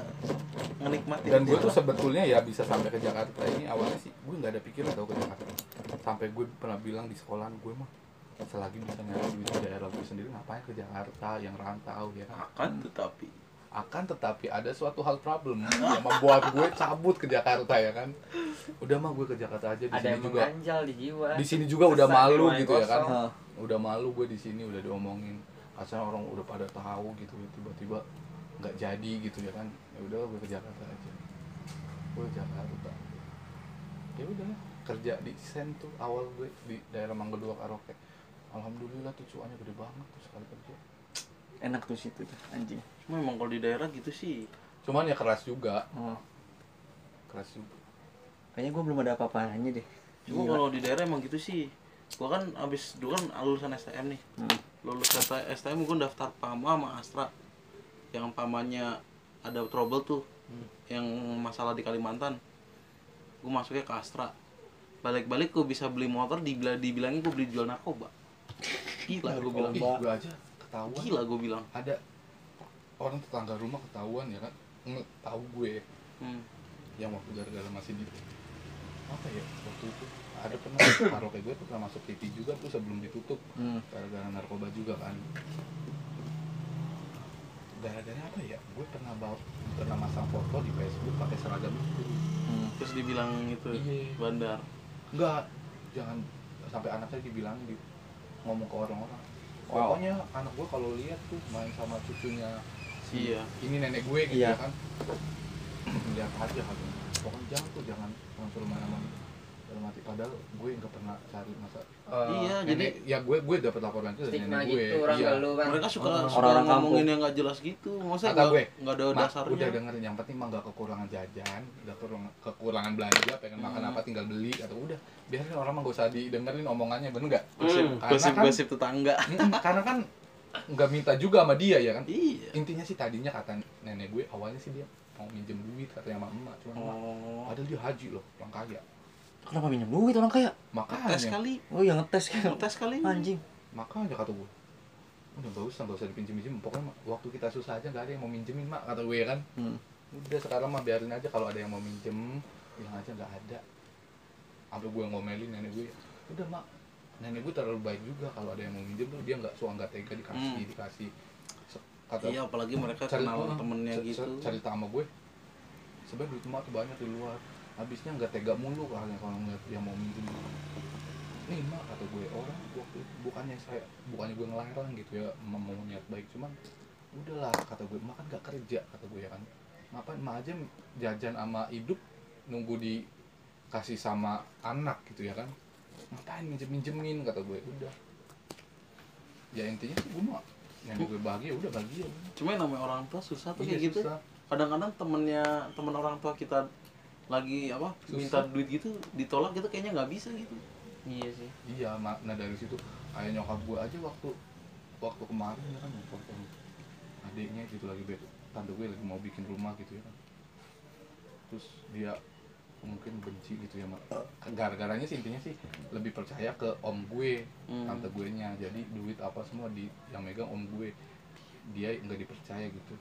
menikmati.
dan gue tuh sebetulnya ya bisa sampai ke Jakarta ini awalnya sih gue nggak ada pikiran tau ke Jakarta sampai gue pernah bilang di sekolahan gue mah selagi bisa nyari duit di daerah gue sendiri ngapain ke Jakarta yang rantau ya kan
akan tetapi
akan tetapi ada suatu hal problem yang membuat gue cabut ke Jakarta ya kan udah mah gue ke Jakarta aja di
Ada
sini
yang
juga
mengganjal di jiwa.
di sini juga udah
Kesan
malu
di
gitu ya kan
kosong.
Hah.
udah malu gue di sini udah diomongin asalnya orang udah pada tahu gitu tiba-tiba nggak jadi gitu ya kan ya udah gue ke Jakarta aja gue ke Jakarta ya udah kerja di sen tuh awal gue di daerah Manggaluak Aroke alhamdulillah tuh cuannya gede banget tuh sekali kerja
Enak tuh situ tuh, anjing.
cuma emang kalau di daerah gitu sih
cuman ya keras juga
Oh,
keras juga
kayaknya gue belum ada apa-apanya deh.
cuma
Iya.
kalau di daerah emang gitu sih gua kan abis dulu kan lulusan STM nih
Hmm.
lulus ST- STM gua daftar PAMA sama Astra yang pamannya ada trouble tuh
Hmm.
yang masalah di Kalimantan gua masuknya ke Astra balik-balik gua bisa beli motor dibila dibilangin gua beli jual narkoba gila gua Iya, bilang
Ih, gue aja ketahuan
gila gua bilang
ada orang tetangga rumah ketahuan ya kan Nge- tahu gue
hmm.
yang waktu gara-gara masih di apa ya waktu itu ada pernah karaoke gue pernah masuk TV juga tuh sebelum ditutup
Hmm.
gara-gara narkoba juga kan gara-gara apa ya gue pernah bawa pernah masang foto di Facebook pakai seragam itu
Hmm.
terus dibilang itu
Iya.
bandar
enggak jangan sampai anaknya dibilang di ngomong ke orang-orang pokoknya anak gue kalau lihat tuh main sama cucunya si
Iya.
ini nenek gue gitu
Iya.
ya kan lihat aja kan pokoknya jangan tuh jangan langsung main sama dalam hati padahal gue nggak pernah cari masa
iya jadi
jadi ya gue gue dapet laporan itu dari
Stigma
nenek gue
gitu orang
iya.
kalau kan.
mereka suka, suka
Orang-orang
ngomongin
kampung.
yang nggak jelas gitu maksudnya
Kata
nggak
gue,
nggak ada
Mak,
dasarnya
udah dengerin yang penting mah nggak kekurangan jajan nggak kurang- kekurangan belanja pengen makan apa tinggal beli atau udah biarin orang mah gak usah didengerin omongannya bener nggak
gosip
Karena
gosip,
kan-
gosip tetangga
Mm-mm, karena kan nggak minta juga sama dia ya kan
iya
intinya sih tadinya kata nenek gue awalnya sih dia mau minjem duit katanya sama emak cuma emak,
Oh.
padahal dia haji loh orang kaya
Kenapa minjem duit orang kaya?
tes
makanya
kali
Oh, yang ngetes kan.
tes kali
Anjing.
makanya kata gue udah gak usah gak usah dipinjem pinjem pokoknya Mak, waktu kita susah aja gak ada yang mau minjemin mak kata gue ya kan
Hmm.
udah sekarang mah biarin aja kalau ada yang mau minjem bilang aja nggak ada sampai gue ngomelin nenek gue udah mak nenek gue terlalu baik juga kalau ada yang mau minjem tuh dia nggak suka nggak tega dikasih
Hmm.
dikasih Se- kata
iya apalagi mereka
cari
kenal
oh,
temennya
cer-
gitu
cer- cerita sama gue sebenarnya duit emak tuh banyak di luar habisnya nggak tega mulu kalau kalau ngeliat yang mau minjem nih mak kata gue orang waktu itu bukannya saya bukannya gue ngelarang gitu ya emak mau niat baik cuman udahlah kata gue emak kan nggak kerja kata gue ya kan ngapain emak aja jajan sama hidup nunggu dikasih sama anak gitu ya kan ngapain minjem minjemin kata gue udah ya intinya sih gue mah yang gue bahagia udah bahagia
cuma yang namanya orang tua susah tuh
Iya,
kayak gitu
susah.
kadang-kadang temennya temen orang tua kita lagi apa minta
Susah.
duit gitu ditolak gitu kayaknya nggak bisa gitu
Iya sih.
Iya, ma- nah dari situ ayah nyokap gue aja waktu waktu kemarin ya kan waktu adiknya gitu lagi be- tante gue lagi mau bikin rumah gitu ya kan terus dia mungkin benci gitu ya sama- gara-garanya sih intinya sih lebih percaya ke om gue tante gue nya jadi duit apa semua di yang megang om gue dia nggak dipercaya gitu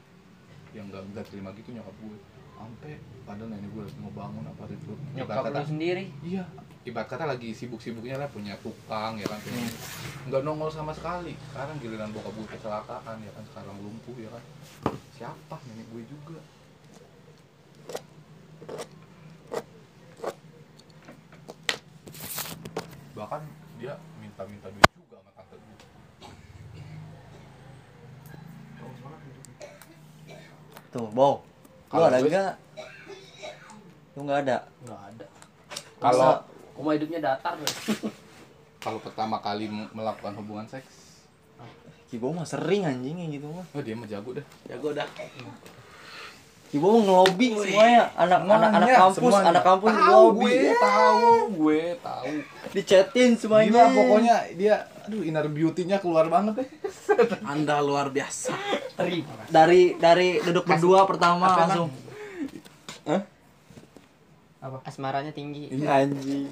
yang nggak nggak terima gitu nyokap gue sampai padahal nenek gue lagi mau bangun apa gitu. itu
nyokap lu sendiri
Iya, ibarat kata lagi sibuk-sibuknya lah punya tukang ya kan. punya- Nggak nongol sama sekali. Sekarang giliran bokap gue kecelakaan ya kan sekarang lumpuh ya kan. Siapa nenek gue juga? Bahkan dia minta-minta duit juga sama tante gue.
Tuh, Bow. Lu
Kalau
ada
gue-
enggak? Lu enggak ada.
Nggak ada.
Kalau
Koma hidupnya datar loh.
kalau pertama kali m- melakukan hubungan seks,
Kibo mah sering anjing kayak gitu mah.
oh dia mah jago dah.
Jago dah.
Kibo mah ngelobi semuanya, anak-anak anak kampus,
semuanya.
anak kampus
Tahu
ngelobi.
gue, tahu gue, tahu.
Dicetin semuanya.
Gila pokoknya dia aduh inner beauty-nya keluar banget deh.
Anda luar biasa.
dari dari duduk berdua pertama
Apa
langsung
asmaranya tinggi
anjing.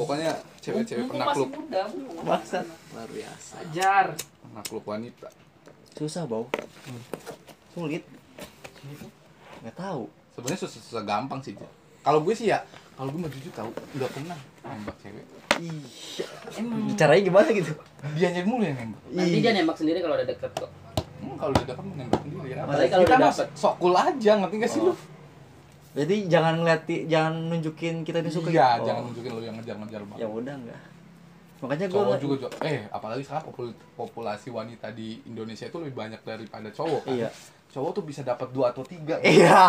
Pokoknya cewek-cewek penakluk
masih muda, belum.
Bangsat.
Luar biasa.
Ajar.
penakluk wanita.
Susah, Bau.
Hmm.
Sulit. Enggak tahu.
Sebenarnya susah, susah gampang sih. Ji. Kalau gue sih ya, kalau gue mau jujur tahu nggak pernah nembak cewek.
Iya. Caranya gimana gitu? Iya.
Dia nyari mulu yang nembak.
Nanti dia nembak sendiri kalau udah deket kok.
Hmm, kalau udah dapet nembak sendiri ya.
Apalagi kalau
kita
udah
mah
dapet.
sok cool aja, ngerti gak sih
Oh,
lu?
Berarti jangan ngeliat, jangan nunjukin kita ini suka.
Iya,
gitu.
jangan
Oh.
nunjukin lu yang ngejar-ngejar
Ya
banget.
udah enggak. Makanya gue
Cowok juga, juga- eh apalagi sekarang popul- populasi wanita di Indonesia itu lebih banyak daripada cowok kan?
Iya.
Cowok tuh bisa dapat dua atau tiga.
Iya.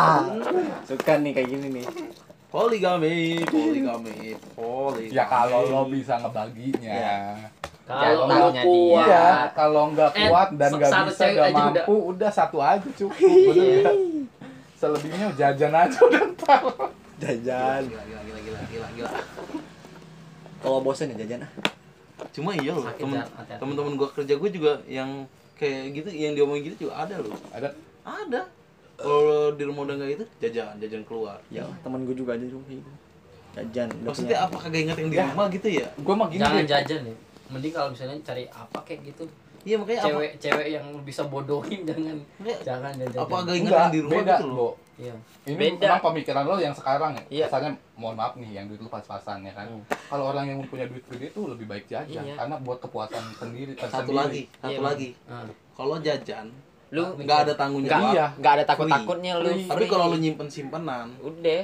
Suka nih kayak gini nih.
Poligami, poligami, poligami.
Ya kalau lo bisa ngebaginya.
Iya.
Kalau
Jago
lo
taunya
kuat.
Iya, kalau nggak
Eh,
kuat dan nggak
satu
bisa
cewek
nggak
aja udah.
mampu, udah. satu aja cukup. Bener nggak? Selebihnya jajan aja udah ntar.
Jajan.
Gila, gila, gila, gila, gila, gila.
Kalau bosen ya jajan ah.
Cuma iya loh,
Sakit,
temen,
Jar. Hati-hati.
temen-temen gua kerja gua juga yang kayak gitu, yang diomongin gitu juga ada loh.
Ada
Ada. Kalau di rumah udah nggak itu, jajan, jajan keluar.
Ya, temen gue juga aja dong kayak gitu. Jajan. udah
Maksudnya
punya.
apa kagak inget yang di rumah gitu ya?
gue mah gini
Jangan
deh.
jajan ya. Mending kalau misalnya cari apa kayak gitu.
Iya makanya apa?
Cewek-cewek yang bisa bodohin jangan.
Iya.
Jangan jangan.
Apa agak inget
Enggak,
yang di rumah
beda
gitu loh?
loh.
Iya.
Ini
Beda.
memang pemikiran lo yang sekarang ya.
Iya.
Misalnya mohon maaf nih yang duit lo pas-pasan ya kan. Kalau orang yang punya duit gede tuh lebih baik jajan
Iya.
karena buat kepuasan sendiri
Satu
tersendiri.
lagi, satu
Iya,
lagi.
Ah.
Kalau jajan,
lu Iya,
nggak ada tanggung
Nggak,
jawab.
iya.
nggak ada takut takutnya lu
Free.
Tapi kalau lu nyimpen simpenan,
udah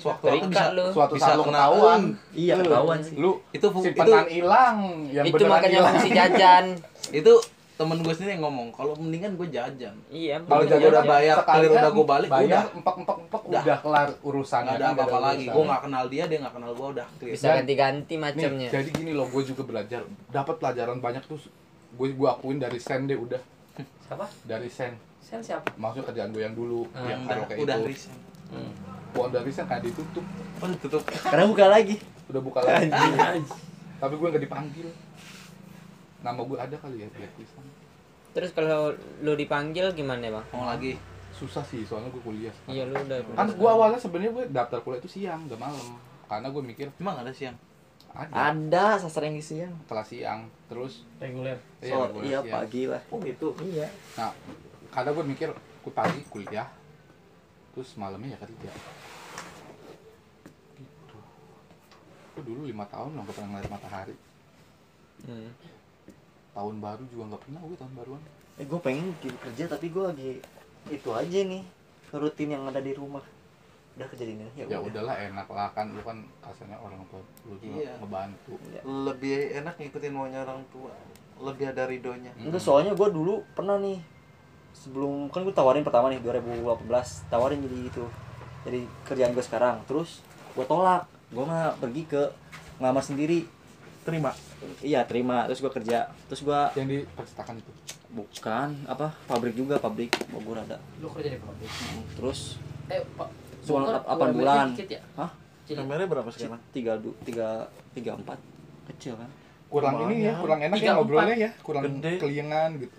suatu
Free card
waktu bisa
lu.
Suatu
Bisa
saat lo
kena
ketahuan,
Iya,
lu-
ketahuan sih.
Lu
itu fu- itu
simpenan hilang yang
itu
beneran
makanya
hilang.
fungsi jajan
itu temen gue sendiri yang ngomong kalau mendingan gue jajan
iya
Kalau
Udah
jago
udah
udah
bayar,
bayar,
clear udah gua balik,
bayar,
udah.
empek empek empek
Udah.
udah kelar urusan.
nggak ada apa-apa lagi gue nggak kenal dia dia nggak kenal gue udah clear
bisa
Dan-
ganti-ganti
Nih,
macamnya
jadi gini loh, gue juga belajar, dapat pelajaran banyak tuh. Gue gue akuin dari sen deh udah,
Siapa?
dari sen.
Sen siapa?
Maksudnya kerjaan gue yang dulu,
Hmm,
yang
Ah, udah
karaoke
udah
Ah, itu.
resign
Pohon dari sen kayak ditutup,
oh tutup
Karena buka lagi.
udah buka lagi. Tapi gue nggak dipanggil. Nama gue ada kali ya blacklist.
terus kalau lu dipanggil gimana bang
mau lagi
Susah sih, soalnya gue kuliah.
iya lu udah
Kan gue awalnya sebenarnya gue daftar kuliah itu siang, gak malam. Karena gue mikir
emang ada siang
ada
Ada sastra yang siang.
kelas siang, terus
Reguler.
iya,
Soal
gue
iya
siang.
pagi lah.
oh gitu
Iya.
Nah, kadang gue mikir, gue pagi kuliah, terus malamnya ya kerja. Gitu. Gue dulu lima tahun loh gak pernah ngeliat matahari.
Hmm.
Tahun baru juga nggak pernah gue tahun baruan.
Eh, gue pengen gitu kerja tapi gue lagi itu aja nih rutin yang ada di rumah. Udah kejadian ya.
Ya udahlah enak lah kan, lu kan kasarnya orang tua lu juga
Iya.
ngebantu.
lebih enak ngikutin maunya orang tua lebih ada ridonya
Enggak soalnya gue dulu pernah nih sebelum kan gue tawarin pertama nih 2018 tawarin jadi itu jadi kerjaan gue sekarang terus gue tolak gue mah pergi ke ngelamar sendiri
terima
iya terima terus gue kerja terus gue
Yang di percetakan itu.
bukan apa pabrik juga pabrik Bogor ada
Lu kerja di pabrik.
terus
Eh, Pak.
Soal
Bogor
apa
UMR-nya
bulan?
Dikit ya?
Hah?
Cilik.
berapa sekarang
tiga du- tiga tiga empat kecil kan
kurang ini ya,
Lumayan.
kurang enak
Tiga,
ya ngobrolnya ya, kurang
Gede.
keliengan gitu.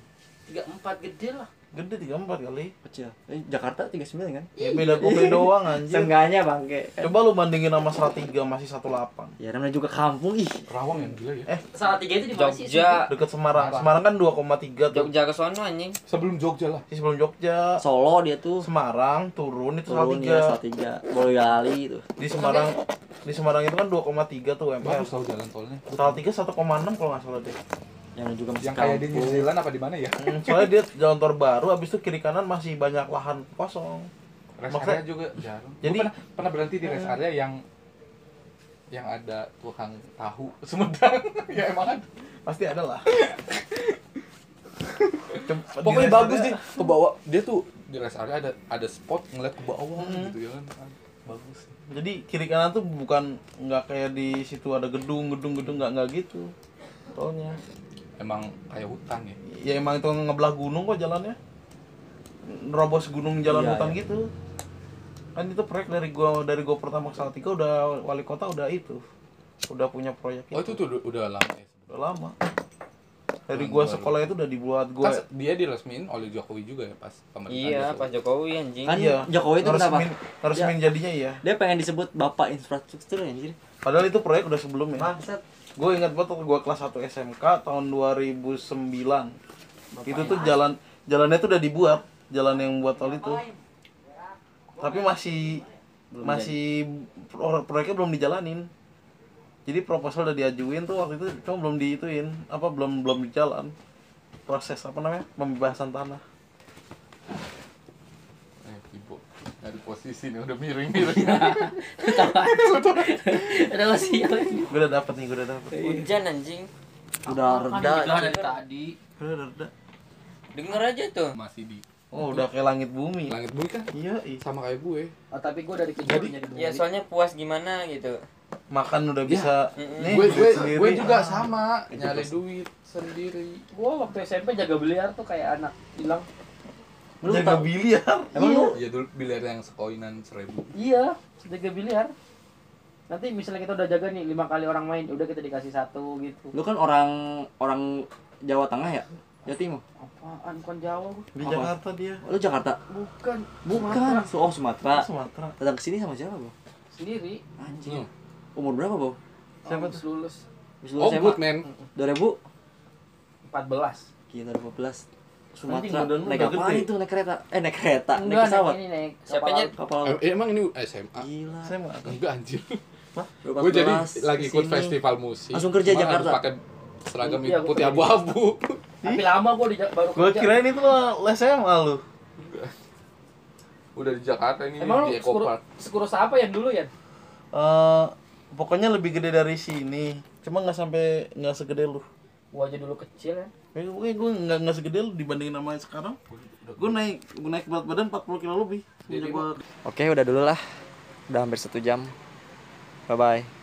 tiga empat gede lah
Gede tiga empat kali.
kecil eh, Jakarta 39 kan
Ya beda gope doang anjir.
Seenggaknya bangke.
Coba lu bandingin sama 103 masih 18.
ya namanya juga kampung ih
Rawang yang gila ya.
Eh,
salah tiga itu di mana sih
Jogja,
Deket Semarang. Semarang kan 2,3 tuh.
Jogja ke sono anjing.
Sebelum Jogja lah.
Di sebelum Jogja.
Solo dia tuh
Semarang turun itu
turun ya
103.
Salatiga Boyolali itu
Di Semarang di Semarang itu kan 2,3 tuh ML.
Bagus tau jalan tolnya.
Salatiga 1,6 kalau nggak salah deh.
yang juga masih
Yang kayak di New
kampung.
Zealand apa di mana ya?
Hmm, Soalnya dia jalan tol baru, abis itu kiri kanan masih banyak lahan kosong.
Rest
Maksudnya-
area juga jarang. Jadi
Jadi-
pernah, pernah berhenti di rest area yang yang ada tukang tahu Sumedang ya emang kan
Pasti ada lah. Cem- di
pokoknya
rest
bagus
area-
sih ke bawah dia tuh di rest area ada ada spot ngeliat ke bawah gitu ya kan bagus
Jadi kiri kanan tuh bukan nggak kayak di situ ada gedung, gedung, gedung nggak nggak gitu. Tolnya.
emang kayak hutan ya
Ya emang itu ngebelah gunung kok jalannya. Nerobos gunung jalan
Iya,
hutan
iya.
gitu. Kan itu proyek dari gua dari gua pertama ke Salatiga udah wali kota udah itu. Udah punya proyek
oh itu tuh udah, udah lama ya
Udah lama. Dari
Tahun
gua
baru.
sekolah itu udah dibuat gua
kan dia diresmiin oleh Jokowi juga ya pas pemerintahan
Iya,
Jokowi.
Pak Jokowi anjing.
Kan
Iya.
Jokowi itu kenapa? Ya.
Ngeresmin- ngeresmin jadinya iya.
Dia pengen disebut bapak infrastruktur anjir.
Padahal itu proyek udah sebelumnya.
Bangsat.
Gue ingat banget waktu gue kelas 1 SMK tahun 2009. itu tuh jalan jalannya tuh udah dibuat, jalan yang buat tol itu. Tapi masih masih pro- proyeknya belum dijalanin. Jadi proposal udah diajuin tuh waktu itu cuma belum diituin, apa belum belum di jalan. Proses apa namanya? Pembebasan tanah.
eh ibu dari posisi nih udah miring-miring
ada nggak sih yang lain?
Gue udah dapet nih, gue udah dapet.
Hujan anjing.
Udah
Kan
reda.
dibilang dari tadi
Gue udah reda.
Denger aja tuh.
masih di
Oh, udah kayak langit bumi.
langit bumi kan
Iya, iya.
sama kayak gue
oh, tapi gue dari kecil udah jadi
Ya soalnya puas gimana gitu.
makan udah bisa nih
gue gue
Eh, gitu sendiri.
gue juga sama nyari duit sendiri
gue waktu SMP jaga biliar tuh kayak anak hilang
Lu jaga biliar
emang lu
Iya dulu biliar yang sekoinan seribu.
Iya, jaga biliar. Nanti misalnya kita udah jaga nih lima kali orang main, udah kita dikasih satu gitu.
Lu kan orang orang Jawa Tengah ya? Jawa Timur.
Apaan kon Jawa? gua?
di
Apa?
Jakarta dia
Oh, Lu Jakarta.
Bukan,
Bukan.
Sumatera.
So, oh Sumatera.
Sumatera
Datang ke sini sama siapa, Bro?
sendiri.
Anjing. Umur berapa, Bro?
Siapa tuh? Lulus
Habis
Hmm. Oh
lulus
good
SMA
man.
2000.
14.
Gila 2012. Sumatera.
Anjing, badan lu
Naik
udah
apa
gede.
itu? Naik kereta. Eh, naik kereta. Naik
Enggak,
pesawat.
naik ini naik.
Siapa
kapal
nyet?
laut.
Oh.
Kapal. laut.
Eh, emang ini SMA.
Gila.
SMA
Enggak anjir.
2014.
Gue jadi lagi ikut
kesini.
festival musik.
Langsung kerja
Cuma
Jakarta.
harus Pakai seragam
Iya, gua
putih
kerja di-
abu-abu.
Tapi lama gua di baru
gue
kerja.
kirain itu lo les SMA lu
Udah di Jakarta ini
Emang lu
di Eco
skuru,
Park.
skuru apa ya dulu ya?
Eh, pokoknya lebih gede dari sini cuma nggak sampai nggak segede lu
Gua aja dulu kecil ya.
Eh, Oke, gue nggak nggak segede lu dibandingin sama sekarang. Gue naik gue naik berat badan 40 kilo lebih. Semenjak gua
Oke, udah dulu lah. Udah hampir satu jam. Bye-bye.